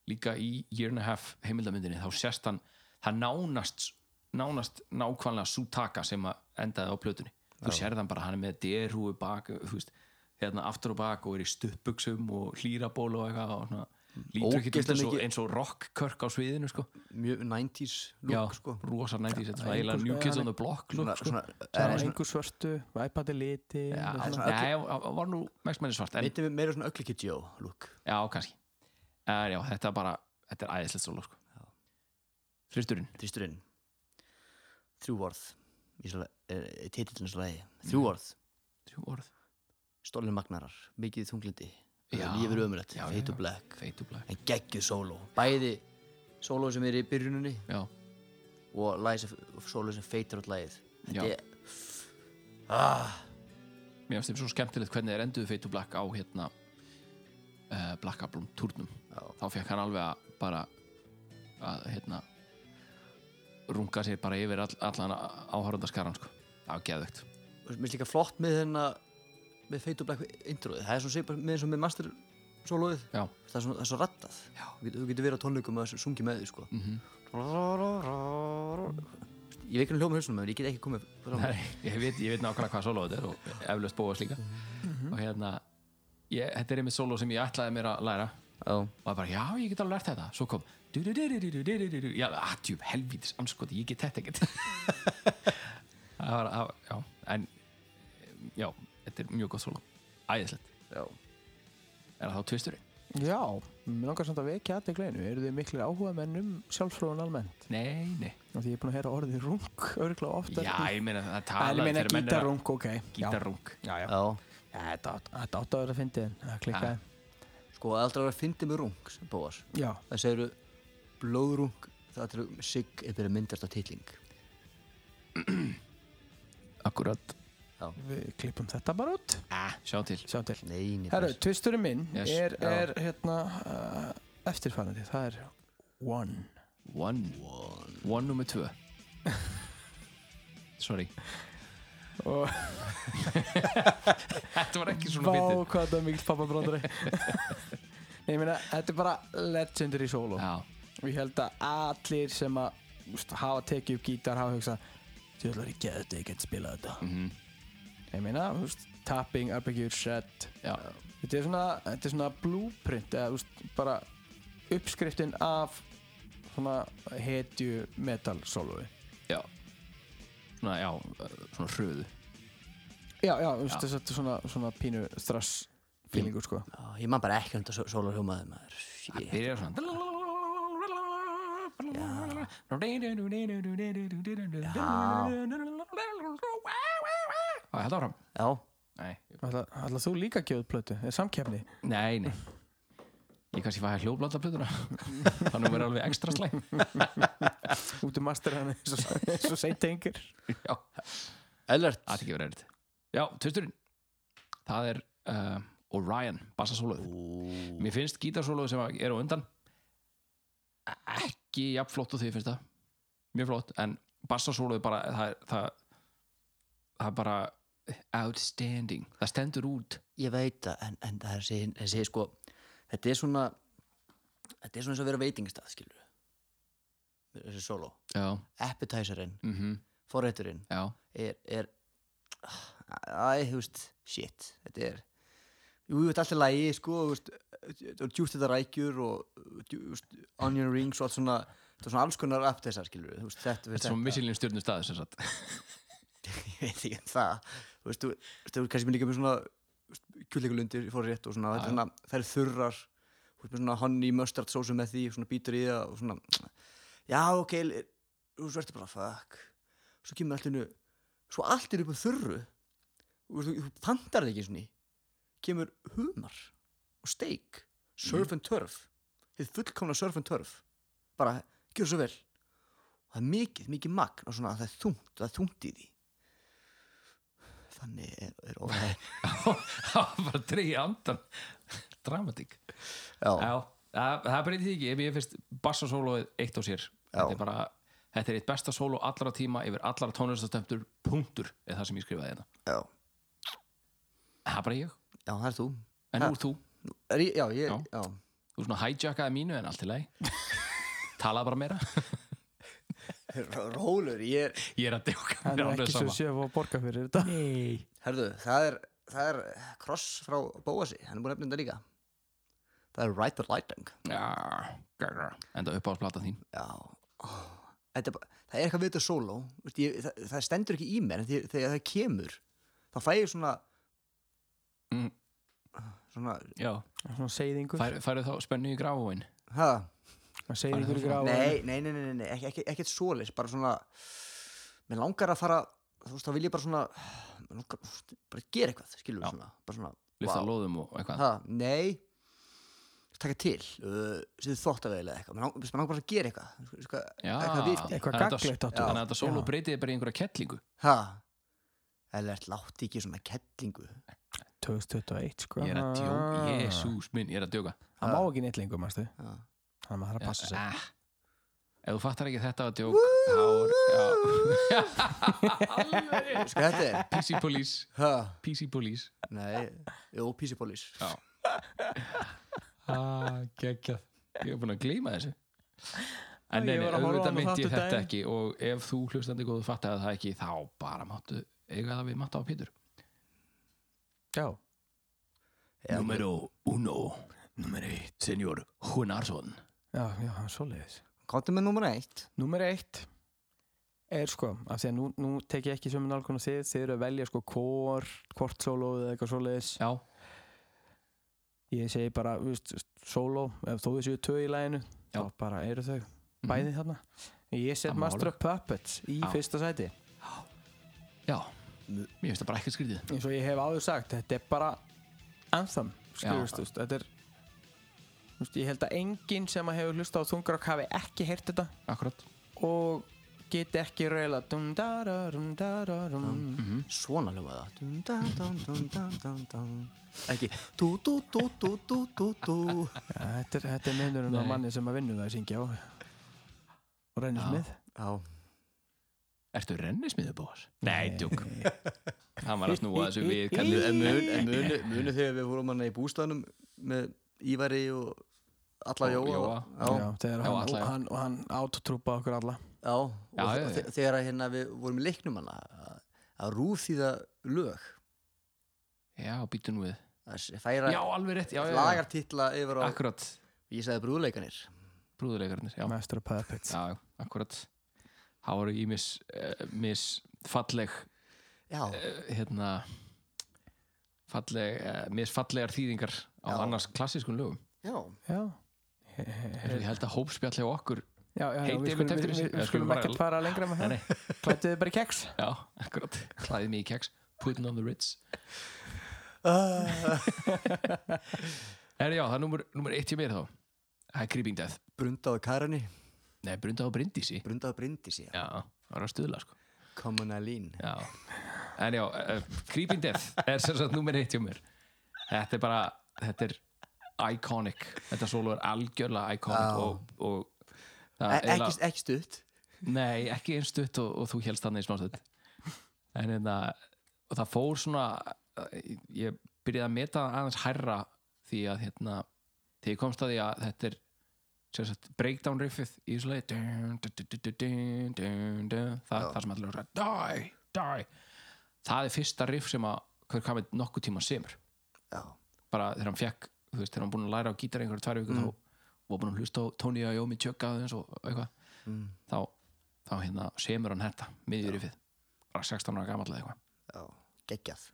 [SPEAKER 8] líka í year and a half heimildamyndinni þá sérst hann það nánast, nánast nákvæmlega sú taka sem að endaði á plötunni þú sérð hann bara, hann er með derhúi bak, þú veist, hérna aftur og bak og er í stuttbuxum og hlýraból og eitthvað og svona, lítur ekki
[SPEAKER 7] Ógeðslega
[SPEAKER 8] eins og,
[SPEAKER 7] mikið-
[SPEAKER 8] eins og rockkörk á sviðinu sko,
[SPEAKER 7] mjög 90s
[SPEAKER 8] já,
[SPEAKER 7] look sko
[SPEAKER 8] rosa næntís þetta
[SPEAKER 9] Já,
[SPEAKER 8] er svona eiginlega
[SPEAKER 9] einhvers-
[SPEAKER 8] New Kids
[SPEAKER 9] hann
[SPEAKER 8] on the Block look,
[SPEAKER 7] svona,
[SPEAKER 8] sko.
[SPEAKER 7] svona, eh,
[SPEAKER 9] Það
[SPEAKER 7] er,
[SPEAKER 9] var
[SPEAKER 7] svona,
[SPEAKER 9] einhver svörtu, iPad er liti
[SPEAKER 8] já,
[SPEAKER 9] og
[SPEAKER 8] svona,
[SPEAKER 9] svona.
[SPEAKER 8] já, já, var nú mest með svart en,
[SPEAKER 7] Myndi við meira svona ögliki Joe look
[SPEAKER 8] Já, kannski en, já, Þetta er bara, þetta er æðislegt solo sko. Þristurinn
[SPEAKER 7] Þrýsturinn Þrjú orð í svo- er- er eh, Titillinn svo lagi
[SPEAKER 8] Mhm.
[SPEAKER 7] Þrjú orð
[SPEAKER 8] Þrjú orð
[SPEAKER 7] Stolni magnarar Mikið þunglindi eh,
[SPEAKER 8] Já.
[SPEAKER 7] Lífur ömulegt
[SPEAKER 8] Já,
[SPEAKER 7] Fate
[SPEAKER 8] já,
[SPEAKER 7] to black
[SPEAKER 8] Feit og blæk
[SPEAKER 7] En geggjuð sóló Bæði sóló sem er í byrjuninni
[SPEAKER 8] Já,
[SPEAKER 7] Og lagi sem- sóló sem feitar út lagið
[SPEAKER 8] Já.
[SPEAKER 7] Þetta er ah,
[SPEAKER 8] mér finnst þetta svo skemmtilegt hvernig þeir enduðu Feit og blæk á hérna uh, Black Album turnum
[SPEAKER 7] Já.
[SPEAKER 8] Þá fekk hann alveg að bara að hérna runga sér bara yfir all, allan áhörundaskaran sko. Það var geðvögt
[SPEAKER 7] og Mér finnst líka flott með þennan Með feitar black introið Það er svona svipað með eins og með master sólóið
[SPEAKER 8] Já,
[SPEAKER 7] Það er svona, það er svo rattað Þú getur, þú getur verið á tónleikum og sungi með því sko
[SPEAKER 8] mm -hmm.
[SPEAKER 7] Ég veit ekki hvernig hljóma hlustunum en ég get ekki komið fram.
[SPEAKER 8] ég, veit, ég veit nákvæmlega hvað solo þetta er og eflaust bóðast líka og hérna ég, þetta er einmitt solo sem ég ætlaði mér að læra
[SPEAKER 7] Já.
[SPEAKER 8] og það bara, já, ég get alveg lært þetta svo kom du-du-du-du-du-du-du-du-du. já, atjúb, helvítis, anskoti, ég get þetta ekkert það var, það var, já en, já, þetta er mjög gott solo æðislegt,
[SPEAKER 7] Já.
[SPEAKER 8] er það þá tvisturinn?
[SPEAKER 9] Já, mér langar samt að vekja aðeins gleinu Eru þið miklir áhuga menn um sjálfsfróðun almennt?
[SPEAKER 8] Nei, nei,
[SPEAKER 9] Af Því ég er búin að heyra orðið rung örgla ofta
[SPEAKER 8] já, ég meina það
[SPEAKER 9] En
[SPEAKER 8] tala
[SPEAKER 9] ég meina gítarung, ok Já.
[SPEAKER 8] gítarung
[SPEAKER 9] Já, já,
[SPEAKER 7] Já.
[SPEAKER 9] Já, Þetta átt- þetta átt að vera að fyndi en það klikkaði
[SPEAKER 7] Sko, það er aldrei að vera að fyndi með rung, Bóas.
[SPEAKER 9] Já,
[SPEAKER 7] Það segir blóðrung, það er sig er byrjað myndast á titling.
[SPEAKER 8] akkurat,
[SPEAKER 9] við klippum þetta bara út
[SPEAKER 8] sjá til
[SPEAKER 9] Sjá til
[SPEAKER 7] Nei, nefnir.
[SPEAKER 9] Herru, tvisturinn minn
[SPEAKER 8] Yes.
[SPEAKER 9] er,
[SPEAKER 7] Já.
[SPEAKER 9] er hérna uh, eftirfarandi Það er One
[SPEAKER 8] One One nummer
[SPEAKER 9] [LAUGHS]
[SPEAKER 8] tvö Sorry
[SPEAKER 9] Og
[SPEAKER 8] [LAUGHS] Þetta var ekki svona
[SPEAKER 9] Vá,
[SPEAKER 8] fyndið
[SPEAKER 9] hvað það er mikill
[SPEAKER 8] [LAUGHS]
[SPEAKER 9] pappabróndari Nei, ég meina, þetta er bara legendary solo
[SPEAKER 8] Já,
[SPEAKER 9] Og ég held að allir sem að úst, hafa tekið upp gítar hafa hugsað Þú ætlar ekki að þetta, ég get spilað þetta
[SPEAKER 8] Mhm.
[SPEAKER 9] Ég meina, úst, tapping, arpeggjur, set
[SPEAKER 8] já,
[SPEAKER 9] Þetta er svona, þetta er svona blueprint eða úst, bara uppskriftin af svona hetju metal sólói
[SPEAKER 8] já svona, já, svona hröðu
[SPEAKER 9] já, já, þú veist þess að þetta er svona, svona pínu strass feelingur sko
[SPEAKER 8] Mm.
[SPEAKER 7] Já, ég man bara ekki um þetta sólar hljómaði maður Shit.
[SPEAKER 8] byrjar svona Já Held áfram
[SPEAKER 7] Já,
[SPEAKER 8] Nei,
[SPEAKER 9] Ætla, ætla þú líka að gefa út plötu? Er samkeppni?
[SPEAKER 8] nei, nei. Ég kannski fæði hljóðblanda
[SPEAKER 9] [LAUGHS]
[SPEAKER 8] plötuna Þannig verður alveg ekstra slæm
[SPEAKER 9] Út um masterhæmi eins
[SPEAKER 7] [LAUGHS]
[SPEAKER 9] og- eins og seint engir
[SPEAKER 8] Já,
[SPEAKER 7] Ellert
[SPEAKER 8] það er ekki verið erfitt. Já, tvisturinn Það er uh, Orion, bassasóluð Mér finnst gítarsóluð sem er á undan Ekki jafn flott og því finnst það Mjög flott, en bassasóluð bara það, er- það, það er bara outstanding Það stendur út
[SPEAKER 7] Ég veit það, en, en það er þessi, þessi sko, þetta er svona þetta er svona eins og að vera á veitingastað, skilur þessi solo
[SPEAKER 8] Já,
[SPEAKER 7] appetizerinn,
[SPEAKER 8] mm
[SPEAKER 7] forrætturinn
[SPEAKER 8] já
[SPEAKER 7] er, er ah, æ, þú veist, shit þetta er, jú, þetta er alltaf lægi sko, þú veist, og djúft þetta rækjur og uh, djú- þú veist, onion rings og allt svona, þetta er svona alls konar appetizar, skilur við, þú veist, þetta,
[SPEAKER 8] Þetta er svo missilin stjórnum staði sem sagt
[SPEAKER 7] [LAUGHS]
[SPEAKER 8] [LAUGHS]
[SPEAKER 7] ég veit ekki um það þú veist, þú þú veist, þú kannski mér líka með svona kjúleikulundir, ég fór rétt og svona þetta er svona, það er þurrar þú veist, með svona honey mustard sósu með því, svona bítur í það og svona, já, ok l- þú veist, ertu bara, fuck svo kemur allt innu, svo allt er upp á þurru þú veist, þú- þú pantar það ekki svona í, kemur humar og steik surf and turf, þið fullkomna surf and turf bara, gjör svo vel og það er mikið, mikið magn og svona, það er þungt, það er þungt í því þannig er, er óvæði
[SPEAKER 8] Það var dreigja andan Dramatík
[SPEAKER 7] já,
[SPEAKER 8] Já, það, það breytir því ekki ef ég finnst bassasólóið eitt á sér þetta er bara, þetta er eitt besta sóló allra tíma yfir allra tónlistastöftur punktur er það sem ég skrifaði þetta
[SPEAKER 7] já,
[SPEAKER 8] það er bara ég,
[SPEAKER 7] já, það er þú
[SPEAKER 8] en nú er þú
[SPEAKER 7] Nú, er ég, já, ég,
[SPEAKER 8] Já.
[SPEAKER 7] já,
[SPEAKER 8] þú svona hijackaði mínu en allt í
[SPEAKER 9] [LAUGHS]
[SPEAKER 8] lagi talaði bara meira,
[SPEAKER 7] R- rólur ég er,
[SPEAKER 8] ég er að djóka
[SPEAKER 9] Það
[SPEAKER 8] mér
[SPEAKER 9] er
[SPEAKER 8] alveg
[SPEAKER 9] ekki svo
[SPEAKER 8] sama.
[SPEAKER 9] séf að borga fyrir þetta
[SPEAKER 8] Nei.
[SPEAKER 7] herðu, það er það er kross frá Bóasi hann er búin að nefna þetta líka það er Rider Lighting
[SPEAKER 8] Já, gaga. enda uppáðsplata þín
[SPEAKER 7] já, Ó, þetta er bara það er eitthvað við þetta sóló Vist, ég, það, það stendur ekki í mér en þegar, þegar það kemur þá fæ ég svona
[SPEAKER 8] Mm.
[SPEAKER 7] svona,
[SPEAKER 8] já,
[SPEAKER 9] Svona seiðingur
[SPEAKER 8] færðu fær þá spennu í gráfóin
[SPEAKER 7] hæ
[SPEAKER 9] Seiðingur í gráðan
[SPEAKER 7] nei, nei, nei, nei, nei, ekki, ekki, ekkert svoleiðis bara svona mér langar að fara þú veist, þá vil ég bara svona mér langar, þú veist, bara gera eitthvað, skilur
[SPEAKER 8] Já.
[SPEAKER 7] við svona bara svona,
[SPEAKER 8] lyfta lóðum og eitthvað
[SPEAKER 7] ha, nei taka til, uh, séðu þóttavegilega eða eitthvað, mér langar, mér langar bara að gera eitthvað eitthvað,
[SPEAKER 8] Já,
[SPEAKER 7] eitthvað virti,
[SPEAKER 9] Eitthvað
[SPEAKER 8] Þannig að þetta-
[SPEAKER 9] gagnlegt áttu.
[SPEAKER 8] þannig að þetta sóló
[SPEAKER 9] Já.
[SPEAKER 8] breytiði bara í einhverja kettlingu
[SPEAKER 7] ha eða er látti ekki svona kettlingu
[SPEAKER 9] 2021 sko
[SPEAKER 8] ég er að djóka, jesús minn, ég er að djóka
[SPEAKER 9] Það má ekki neitt lengur, mannstu
[SPEAKER 7] Já.
[SPEAKER 9] Þannig að maður þarf að passa sig
[SPEAKER 8] Ah, ef þú fattar ekki þetta að djók þá er já.
[SPEAKER 7] sko þetta er,
[SPEAKER 8] PC Police
[SPEAKER 7] ha,
[SPEAKER 8] [LAUGHS] PC Police
[SPEAKER 7] nei jú, písi bólís
[SPEAKER 8] Já. ah, geggjað ég er búin að gleyma þessu
[SPEAKER 9] Æ,
[SPEAKER 8] en nei,
[SPEAKER 9] ég
[SPEAKER 8] nei,
[SPEAKER 9] var að horfa á
[SPEAKER 8] auðvitað
[SPEAKER 9] hana
[SPEAKER 8] myndi
[SPEAKER 9] þáttu
[SPEAKER 8] ég þetta
[SPEAKER 9] daginn.
[SPEAKER 8] ekki og ef þú hlustandi góðu fattar það ekki þá bara máttu eiga það við matta á Pétur
[SPEAKER 9] Já
[SPEAKER 8] Número uno Número eitt Senjór Hunarsson
[SPEAKER 9] Já, já, það er svoleiðis
[SPEAKER 7] komdu með nummer eitt
[SPEAKER 9] Númer eitt er sko, af því að nú, nú tek ég ekki sömu nálgun og þið, þið eru að velja sko kor, kort solo eða eitthvað svoleiðis
[SPEAKER 8] já,
[SPEAKER 9] ég segi bara, þú veist, solo ef þó þessu tvö í læginu,
[SPEAKER 8] Já.
[SPEAKER 9] þá bara eru þau bæði þarna ég set
[SPEAKER 8] Það má
[SPEAKER 9] Master of
[SPEAKER 8] alveg.
[SPEAKER 9] Puppets í
[SPEAKER 8] Já.
[SPEAKER 9] fyrsta sæti
[SPEAKER 8] já mér finnst það bara ekkert skrítið
[SPEAKER 9] eins og ég hef áður sagt, þetta er bara anthem, skilurst, þú veist, þetta er þú veist, ég held að enginn sem að hefur hlusta á þungarokk hafi ekki heyrt þetta
[SPEAKER 8] akkurat
[SPEAKER 9] og geti ekki reyla dum dara dum dara dum
[SPEAKER 8] mhm.
[SPEAKER 7] svona hljómaði það Dun, dun, dun, dun, dun, dun, dun. ekki dú, dú, dú, dú, dú, dú, dú
[SPEAKER 9] ja, þetta, er- þetta er minnurinn á
[SPEAKER 8] Nei.
[SPEAKER 9] manni sem að vinnur það að syngja á og reynir
[SPEAKER 8] Já.
[SPEAKER 9] smið
[SPEAKER 7] já
[SPEAKER 8] Ertu rennismiður bóðas? Nei, djúk Hann var að snúa þessu við kallið
[SPEAKER 7] En mun, en munu, munu þegar við fórum hann í bústæðanum með Ívari og alla
[SPEAKER 8] Og
[SPEAKER 7] Jóa,
[SPEAKER 8] Jóa.
[SPEAKER 7] Já, já,
[SPEAKER 9] Já, þegar
[SPEAKER 8] Já,
[SPEAKER 9] hann,
[SPEAKER 8] alla, já.
[SPEAKER 9] og hann, og hann átotrúpa okkur alla
[SPEAKER 7] og
[SPEAKER 8] Já,
[SPEAKER 7] já,
[SPEAKER 8] já, já.
[SPEAKER 7] þegar að hérna við vorum í leiknum hann að rúð þýða lög
[SPEAKER 8] Já, býtum við
[SPEAKER 7] að s- færa
[SPEAKER 8] Já, alveg rétt, já, já, já.
[SPEAKER 7] lagartitla yfir á
[SPEAKER 8] Akkurat
[SPEAKER 7] ég sagði brúðleikanir
[SPEAKER 8] brúðuleikarnir, já,
[SPEAKER 9] Master of Puppets
[SPEAKER 8] já, akkurat það voru ímis uh, misfalleg
[SPEAKER 7] Já,
[SPEAKER 8] uh, hérna falleg, uh, misfallegar þýðingar
[SPEAKER 7] Já.
[SPEAKER 8] á annars klassískun lögum
[SPEAKER 7] já,
[SPEAKER 9] Já,
[SPEAKER 8] ég held að hópspjall hjá okkur
[SPEAKER 9] já, já, já
[SPEAKER 8] Heitið
[SPEAKER 9] við
[SPEAKER 8] ykkur
[SPEAKER 9] skulum,
[SPEAKER 8] eftir
[SPEAKER 9] við,
[SPEAKER 8] þessu?
[SPEAKER 9] við,
[SPEAKER 8] Eða
[SPEAKER 9] við
[SPEAKER 8] skulum
[SPEAKER 9] skulum
[SPEAKER 8] bara-
[SPEAKER 9] ekkert fara lengra með
[SPEAKER 8] nei,
[SPEAKER 9] það
[SPEAKER 8] nei,
[SPEAKER 9] Klættu þið bara í keks
[SPEAKER 8] já, akkurat, klæðið mig í keks putting on the ritz
[SPEAKER 7] Ah.
[SPEAKER 8] er já, það er númer, númer eitt hjá mér þá það er Creeping Death
[SPEAKER 7] brundaðu Karinni
[SPEAKER 8] nei, Brunda á Bryndísi
[SPEAKER 7] Brundaðu Bryndísi,
[SPEAKER 8] já, það var að stuðla sko
[SPEAKER 7] Kommunalín
[SPEAKER 8] Já, en já, uh, Creeping Death er sem sagt nummer eitt hjá mér Þetta er bara, þetta er iconic, þetta solo er algjörlega iconic
[SPEAKER 7] Já.
[SPEAKER 8] og, og það
[SPEAKER 7] E-
[SPEAKER 8] er
[SPEAKER 7] Ekki,
[SPEAKER 8] eiginlega-
[SPEAKER 7] ekki stutt
[SPEAKER 8] Nei, ekki einn stutt og, og þú hélst þannig í smástutt En hérna, og það fór svona eh, ég byrjaði að meta það aðeins hærra því að hérna því ég komst að því að þetta er sem sagt, breakdown riffið í þessu leið það, það sem allir eru að die, die það er fyrsta riff sem að hver kamið nokkuð tíma semur
[SPEAKER 7] Já,
[SPEAKER 8] bara þegar hann fekk, þú veist, þegar hann búinn að læra á gítar einhverja tvær vikur þá og búinn að hlusta á Tony Iommi tjökka aðeins og eitthvað þá, þá hérna semur hann þetta miðjur riffið, bara 16 ára gamall eða eitthvað
[SPEAKER 7] já, geggjað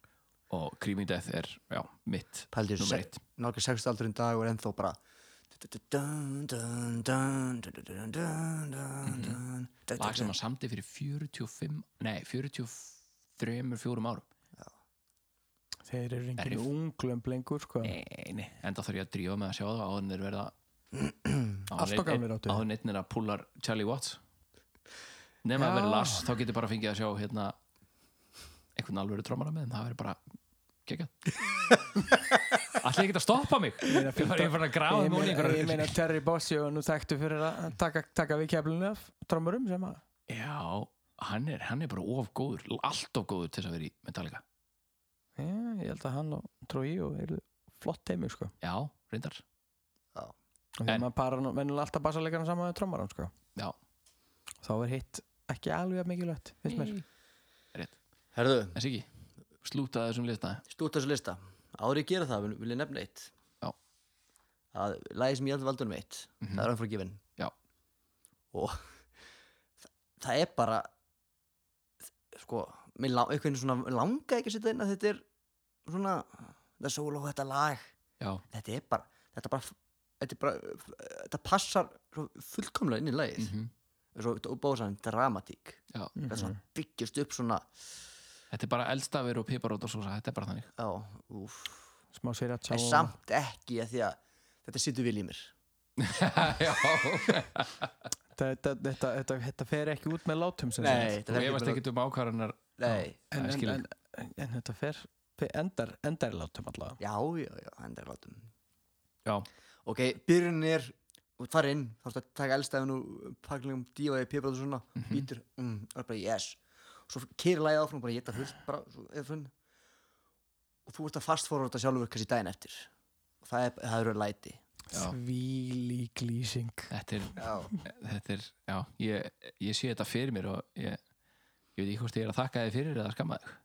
[SPEAKER 8] og Creeping Death er, já, mitt
[SPEAKER 7] Pældi
[SPEAKER 8] númer eitt.
[SPEAKER 7] þessu nálgur 60 aldurinn dag og er ennþá bara dun, dun, dun, dun, dun, dun, dun, dun, dun, dun,
[SPEAKER 8] Mhm. lag sem
[SPEAKER 7] dun.
[SPEAKER 8] hann samti fyrir 45 nei, 43, 4 árum
[SPEAKER 9] Þeir eru engin
[SPEAKER 8] Riff.
[SPEAKER 9] unglömb lengur sko
[SPEAKER 8] eini, enda þarf ég að drífa með að sjá það áður en þeir verða
[SPEAKER 9] [CLEARS THROAT] Allt og gamlir áttu.
[SPEAKER 8] áður neittnir að púlar Charlie Watts nema að
[SPEAKER 9] Já.
[SPEAKER 8] vera Lars, þá getur bara fengið að sjá hérna einhvern alvöru trómara með en það verður bara
[SPEAKER 9] [LAUGHS]
[SPEAKER 8] geggjað Ætli ekki að stoppa mig [LAUGHS] Ég
[SPEAKER 9] meina,
[SPEAKER 8] var ég var farin að grafa
[SPEAKER 9] Ég
[SPEAKER 8] mig ofan í
[SPEAKER 9] meina, ég meina
[SPEAKER 8] einhverjar-
[SPEAKER 9] Terry Bossio nú þekktu fyrir að taka, taka við keflunni af trommurum sem að
[SPEAKER 8] Já, hann er, hann er bara of góður allt of góður til þess að vera í Metallica
[SPEAKER 9] Já, ég held að hann og Trói og eru flott teimi sko
[SPEAKER 8] Já, reyndar
[SPEAKER 9] og þegar
[SPEAKER 8] En-
[SPEAKER 9] maður parar nú- venjulega alltaf bassarleikarna saman með trommarann sko
[SPEAKER 8] Já.
[SPEAKER 9] þá er hitt ekki alveg að mikilvægt finnst mér
[SPEAKER 7] Herðu,
[SPEAKER 8] En Siggi, slútaði þessum lista
[SPEAKER 7] stúta þessu lista Árið gera það, vil, vil ég nefna eitt
[SPEAKER 8] Já. Mhm.
[SPEAKER 7] að Lagi sem ég held valdunum eitt Það er Unforgiven
[SPEAKER 8] Já.
[SPEAKER 7] Og það, það er bara sko, mér lá, einhvern veginn svona langa ekki að setja inn að þetta er svona, það er solo þetta lag
[SPEAKER 8] Já,
[SPEAKER 7] þetta er bara þetta, bara, þetta, er bara, þetta passar svo fullkomlega inn í lagið mm
[SPEAKER 8] Mhm.
[SPEAKER 7] svo bóðsann dramatík
[SPEAKER 8] já Mhm.
[SPEAKER 7] það er svona byggjast upp svona
[SPEAKER 8] Þetta er bara eldstafir og piparót og svo, þetta er bara
[SPEAKER 9] [LAUGHS]
[SPEAKER 8] þannig. [LAUGHS]
[SPEAKER 7] já, úf,
[SPEAKER 9] smá sér að
[SPEAKER 7] en samt ekki að því að þetta sittur vil í mér
[SPEAKER 8] Já,
[SPEAKER 9] þetta, þetta, þetta, þetta fer ekki út með látum sem sagt.
[SPEAKER 7] nei, þetta
[SPEAKER 8] og
[SPEAKER 7] fer
[SPEAKER 8] ég varst
[SPEAKER 7] bara-
[SPEAKER 8] ekkert um ákvarðanar.
[SPEAKER 7] nei,
[SPEAKER 9] en,
[SPEAKER 8] Það er
[SPEAKER 9] en,
[SPEAKER 8] skilning.
[SPEAKER 9] en, en, en þetta fer, fer endar, endar í látum allavega
[SPEAKER 7] já, já, já, hendur látum
[SPEAKER 8] Já,
[SPEAKER 7] ok, byrjunin er og fara inn, þá ertu að taka elstæðin og pakklingum dífaði pipræðu svona mm býtur, mm, og er bara yes og svo kýri lagið áfram og bara geta fullt bara, svo, eða finn og þú ert að fastfóra þetta sjálfur kannski daginn eftir og það, er, það eru læti
[SPEAKER 8] Já.
[SPEAKER 9] svílík glýsing
[SPEAKER 8] þetta er, þetta er, já, ég, ég sé þetta fyrir mér og ég, ég veit ekki hvort ég er að þakka þið fyrir eða skamma þig.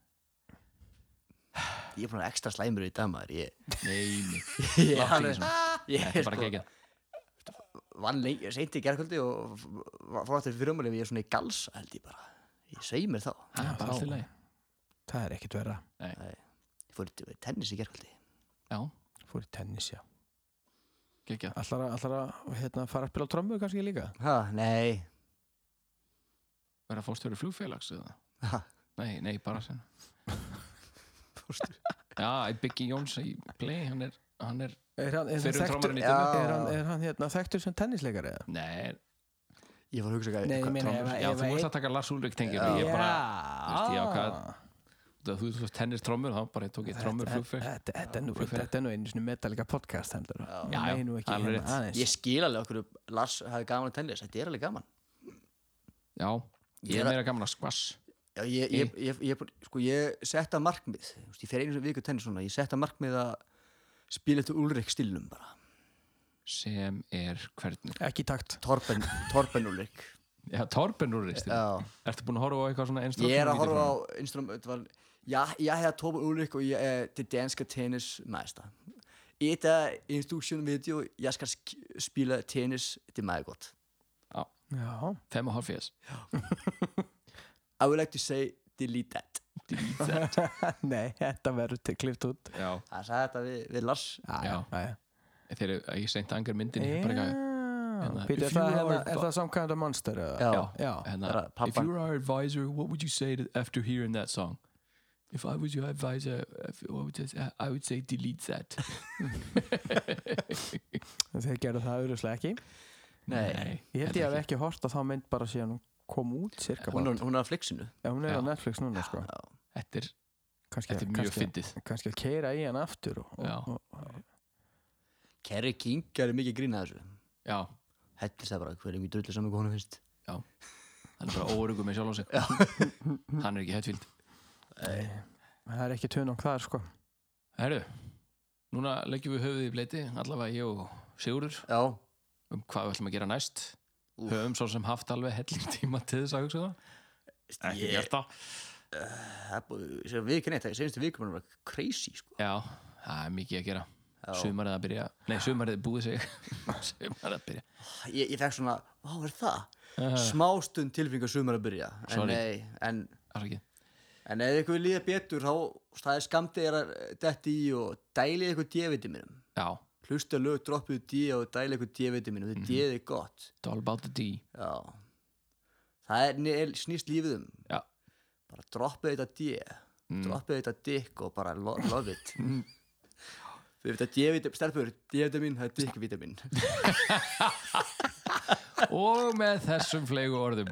[SPEAKER 7] ég er búin að ekstra slæmur í dag maður ég,
[SPEAKER 8] Nei,
[SPEAKER 7] [LAUGHS]
[SPEAKER 8] nei,
[SPEAKER 7] ég,
[SPEAKER 8] láttu
[SPEAKER 7] alveg-
[SPEAKER 8] ekki svona.
[SPEAKER 7] ég er
[SPEAKER 8] Þetta er bara
[SPEAKER 7] sko,
[SPEAKER 8] geggjað.
[SPEAKER 7] vann lengi, seinti í gerkvöldi og fór aftur fyrir umhverjum ég er svona í gals held ég bara, ég sveimir þá
[SPEAKER 8] Það er bara allt í lagi.
[SPEAKER 9] það er ekkert vera
[SPEAKER 7] ég fór í tennis í gerkvöldi
[SPEAKER 8] Já,
[SPEAKER 9] fór í tennis já
[SPEAKER 8] geggjað.
[SPEAKER 9] allar að, allar að hérna, fara að spila á trommu kannski líka
[SPEAKER 7] ha, nei,
[SPEAKER 8] Verða fórstjóri flugfélags eða?
[SPEAKER 7] Ha.
[SPEAKER 8] Nei, nei, bara sen. Já, Biggie Jóns í play, hann er, hann er,
[SPEAKER 9] er hann, er hann,
[SPEAKER 8] Fyrrum
[SPEAKER 9] þekktur,
[SPEAKER 8] trommarinn í
[SPEAKER 9] er
[SPEAKER 7] Dimmu?
[SPEAKER 9] hann, er hann hérna, þekktur sem tennisleikari eða?
[SPEAKER 8] nei,
[SPEAKER 7] ég var að hugsa
[SPEAKER 9] Nei, ég
[SPEAKER 7] hvað-
[SPEAKER 9] meina,
[SPEAKER 8] trommur.
[SPEAKER 9] ef-
[SPEAKER 8] Já,
[SPEAKER 9] ef-
[SPEAKER 8] þú ert
[SPEAKER 9] ef-
[SPEAKER 8] að taka Lars Úlrik tengjum, ég bara, þú veist, ég ákvað
[SPEAKER 9] Ah.
[SPEAKER 8] Þú- þú þú veist tennis trommur þá bara ég tók ég trommur
[SPEAKER 9] Þetta-
[SPEAKER 8] flugferð
[SPEAKER 9] þetta- Þetta er nú-
[SPEAKER 8] flugferð.
[SPEAKER 9] þetta er nú einu sinni metalika podcast heldur
[SPEAKER 8] Já, já,
[SPEAKER 9] nú ekki
[SPEAKER 8] alveg
[SPEAKER 9] hérna
[SPEAKER 8] rétt.
[SPEAKER 9] aðeins
[SPEAKER 7] ég skil alveg okkur Lars hafi gaman að tennis, þetta er alveg gaman
[SPEAKER 8] já, ég
[SPEAKER 7] Ég
[SPEAKER 8] er
[SPEAKER 7] er-
[SPEAKER 8] meira gaman að skvass
[SPEAKER 7] Já, ég, ég, ég, ég, ég, sko, ég setta markmið þú veist, ég fer einu sem viku tennis svona ég setta markmið að spila eftir Ulrik stilnum bara
[SPEAKER 8] sem er hvernig
[SPEAKER 9] ekki í takt
[SPEAKER 7] Torben, Torben Ulrik
[SPEAKER 8] já, Torben Rúrist,
[SPEAKER 7] Já.
[SPEAKER 8] ertu búin að horfa á eitthvað svona
[SPEAKER 7] ég er að
[SPEAKER 8] instructional
[SPEAKER 7] horfa á
[SPEAKER 8] video
[SPEAKER 7] instrum, var, já, ég hefði Torben Ulrik og ég er til danska tennis mæsta i det instruction video, jeg skal sk- spille tennis, det er meget godt.
[SPEAKER 9] Já,
[SPEAKER 8] 5,5 fjæs
[SPEAKER 7] I would like to say, delete that.
[SPEAKER 9] [LAUGHS] nei, þetta verður til klift út
[SPEAKER 8] Já,
[SPEAKER 7] Það sagði þetta við, við Lars.
[SPEAKER 8] Já.
[SPEAKER 9] já
[SPEAKER 8] þeir eru að ég seint angar myndin bara
[SPEAKER 7] Eh.
[SPEAKER 8] eitthvað,
[SPEAKER 9] Já,
[SPEAKER 8] Hérna,
[SPEAKER 9] Pítur,
[SPEAKER 8] if
[SPEAKER 9] er það,
[SPEAKER 8] you
[SPEAKER 9] hérna,
[SPEAKER 8] are
[SPEAKER 9] er það samkvæmda monster? eða?
[SPEAKER 7] Já.
[SPEAKER 9] Já,
[SPEAKER 8] hérna,
[SPEAKER 7] Bara pabba.
[SPEAKER 8] If you were our advisor, what would you say to, after hearing that song? If I was your advisor, if, what would you say? I would say delete that
[SPEAKER 9] þeir gerðu það auðvitað ekki
[SPEAKER 7] Nei,
[SPEAKER 9] Ég held ég
[SPEAKER 8] Þetta
[SPEAKER 9] hef ekki hort að þá mynd bara síðan hún kom út cirka
[SPEAKER 7] hún
[SPEAKER 9] bara.
[SPEAKER 7] er, hún er að flixinu.
[SPEAKER 9] Já, hún er á
[SPEAKER 8] Já.
[SPEAKER 9] Netflix núna sko
[SPEAKER 8] Þetta er,
[SPEAKER 9] Kannski,
[SPEAKER 8] þetta er mjög
[SPEAKER 9] kannski,
[SPEAKER 8] fyndið
[SPEAKER 9] kannski að keira í hann aftur og,
[SPEAKER 8] Já.
[SPEAKER 9] og, og,
[SPEAKER 7] Kerry King gerir mikið grín að þessu.
[SPEAKER 8] Já,
[SPEAKER 7] Hættir það bara, hver er mjög drullið saman konu fyrst.
[SPEAKER 8] hann er
[SPEAKER 7] [LAUGHS]
[SPEAKER 8] bara óöryggur með sjálf á sig Hann er ekki hættfíld
[SPEAKER 9] Það er ekki tunung þar sko
[SPEAKER 8] Herru, núna leggjum við höfuðið í bleiti allavega ég og Sigurður
[SPEAKER 7] Já,
[SPEAKER 8] um hvað við ætlum að gera næst höfum svo sem haft alveg helling [LAUGHS] tíma til þess að hugsa það ekki gert það
[SPEAKER 7] það er búið, sem við kennið þetta, senstu vikum hann var crazy, sko.
[SPEAKER 8] já, það er mikið að gera
[SPEAKER 7] Já.
[SPEAKER 8] sumarið að byrja, nei sumarið er búið sig
[SPEAKER 9] [LAUGHS]
[SPEAKER 8] sumarið að byrja
[SPEAKER 7] Ég, ég fekk svona, hvað er það? Smástund tilfingar sumar að byrja. En
[SPEAKER 8] Sorry.
[SPEAKER 7] nei, en
[SPEAKER 8] Afsakið.
[SPEAKER 7] En ef ykkur líða betur þá það er skamtið er að detti í og dælið ykkur D-vitaminum.
[SPEAKER 8] já,
[SPEAKER 7] Hlusta lög, droppið D og dælið ykkur D-vitaminum.
[SPEAKER 8] Mhm.
[SPEAKER 7] Þetta mm -hmm. D er gott.
[SPEAKER 8] it's all about the D
[SPEAKER 7] Já. Það er, er snýst lífið um.
[SPEAKER 8] já, Mm.
[SPEAKER 7] Bara droppið þetta D. Droppið þetta dick og bara lo love
[SPEAKER 8] [LAUGHS]
[SPEAKER 7] it. Fyrir þetta D-vitamin, stelpur, D-vitamin, það er dick-vitamin.
[SPEAKER 8] [LAUGHS] og með þessum flegu orðum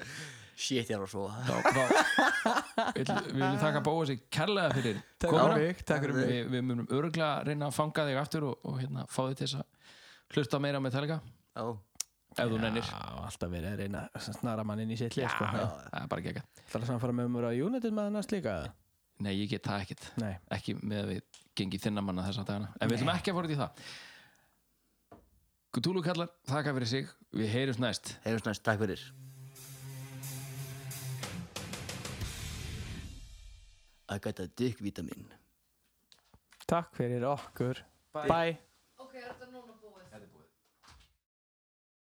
[SPEAKER 7] Shit, ég er að svo.
[SPEAKER 8] þá, þá vill, við viljum þakka Bóa sig kærlega fyrir
[SPEAKER 9] Takk
[SPEAKER 8] komuna.
[SPEAKER 9] fyrir mig, takk fyrir mig.
[SPEAKER 8] við, við munum örgla reyna að fanga þig aftur og, og hérna, fá þig til þess að hlusta meira með telga
[SPEAKER 7] Já.
[SPEAKER 8] ef þú nennir,
[SPEAKER 9] Já, alltaf verið að reyna að snara mann inn í sitt lið sko Það
[SPEAKER 8] það er bara ekki
[SPEAKER 9] er að samfara með umur á United með hann að slíka það
[SPEAKER 8] nei, ég get það ekkert
[SPEAKER 9] Nei,
[SPEAKER 8] ekki með að við gengi þinna manna þess að dagana en við ætlum ekki að fara út í það Cthulhu kallar, þakka fyrir sig við heyrjumst næst
[SPEAKER 7] Hefur snæst, takk fyrir. I got a dick-vitamin.
[SPEAKER 9] takk fyrir okkur Bye, Bye.
[SPEAKER 1] Ok, er þetta núna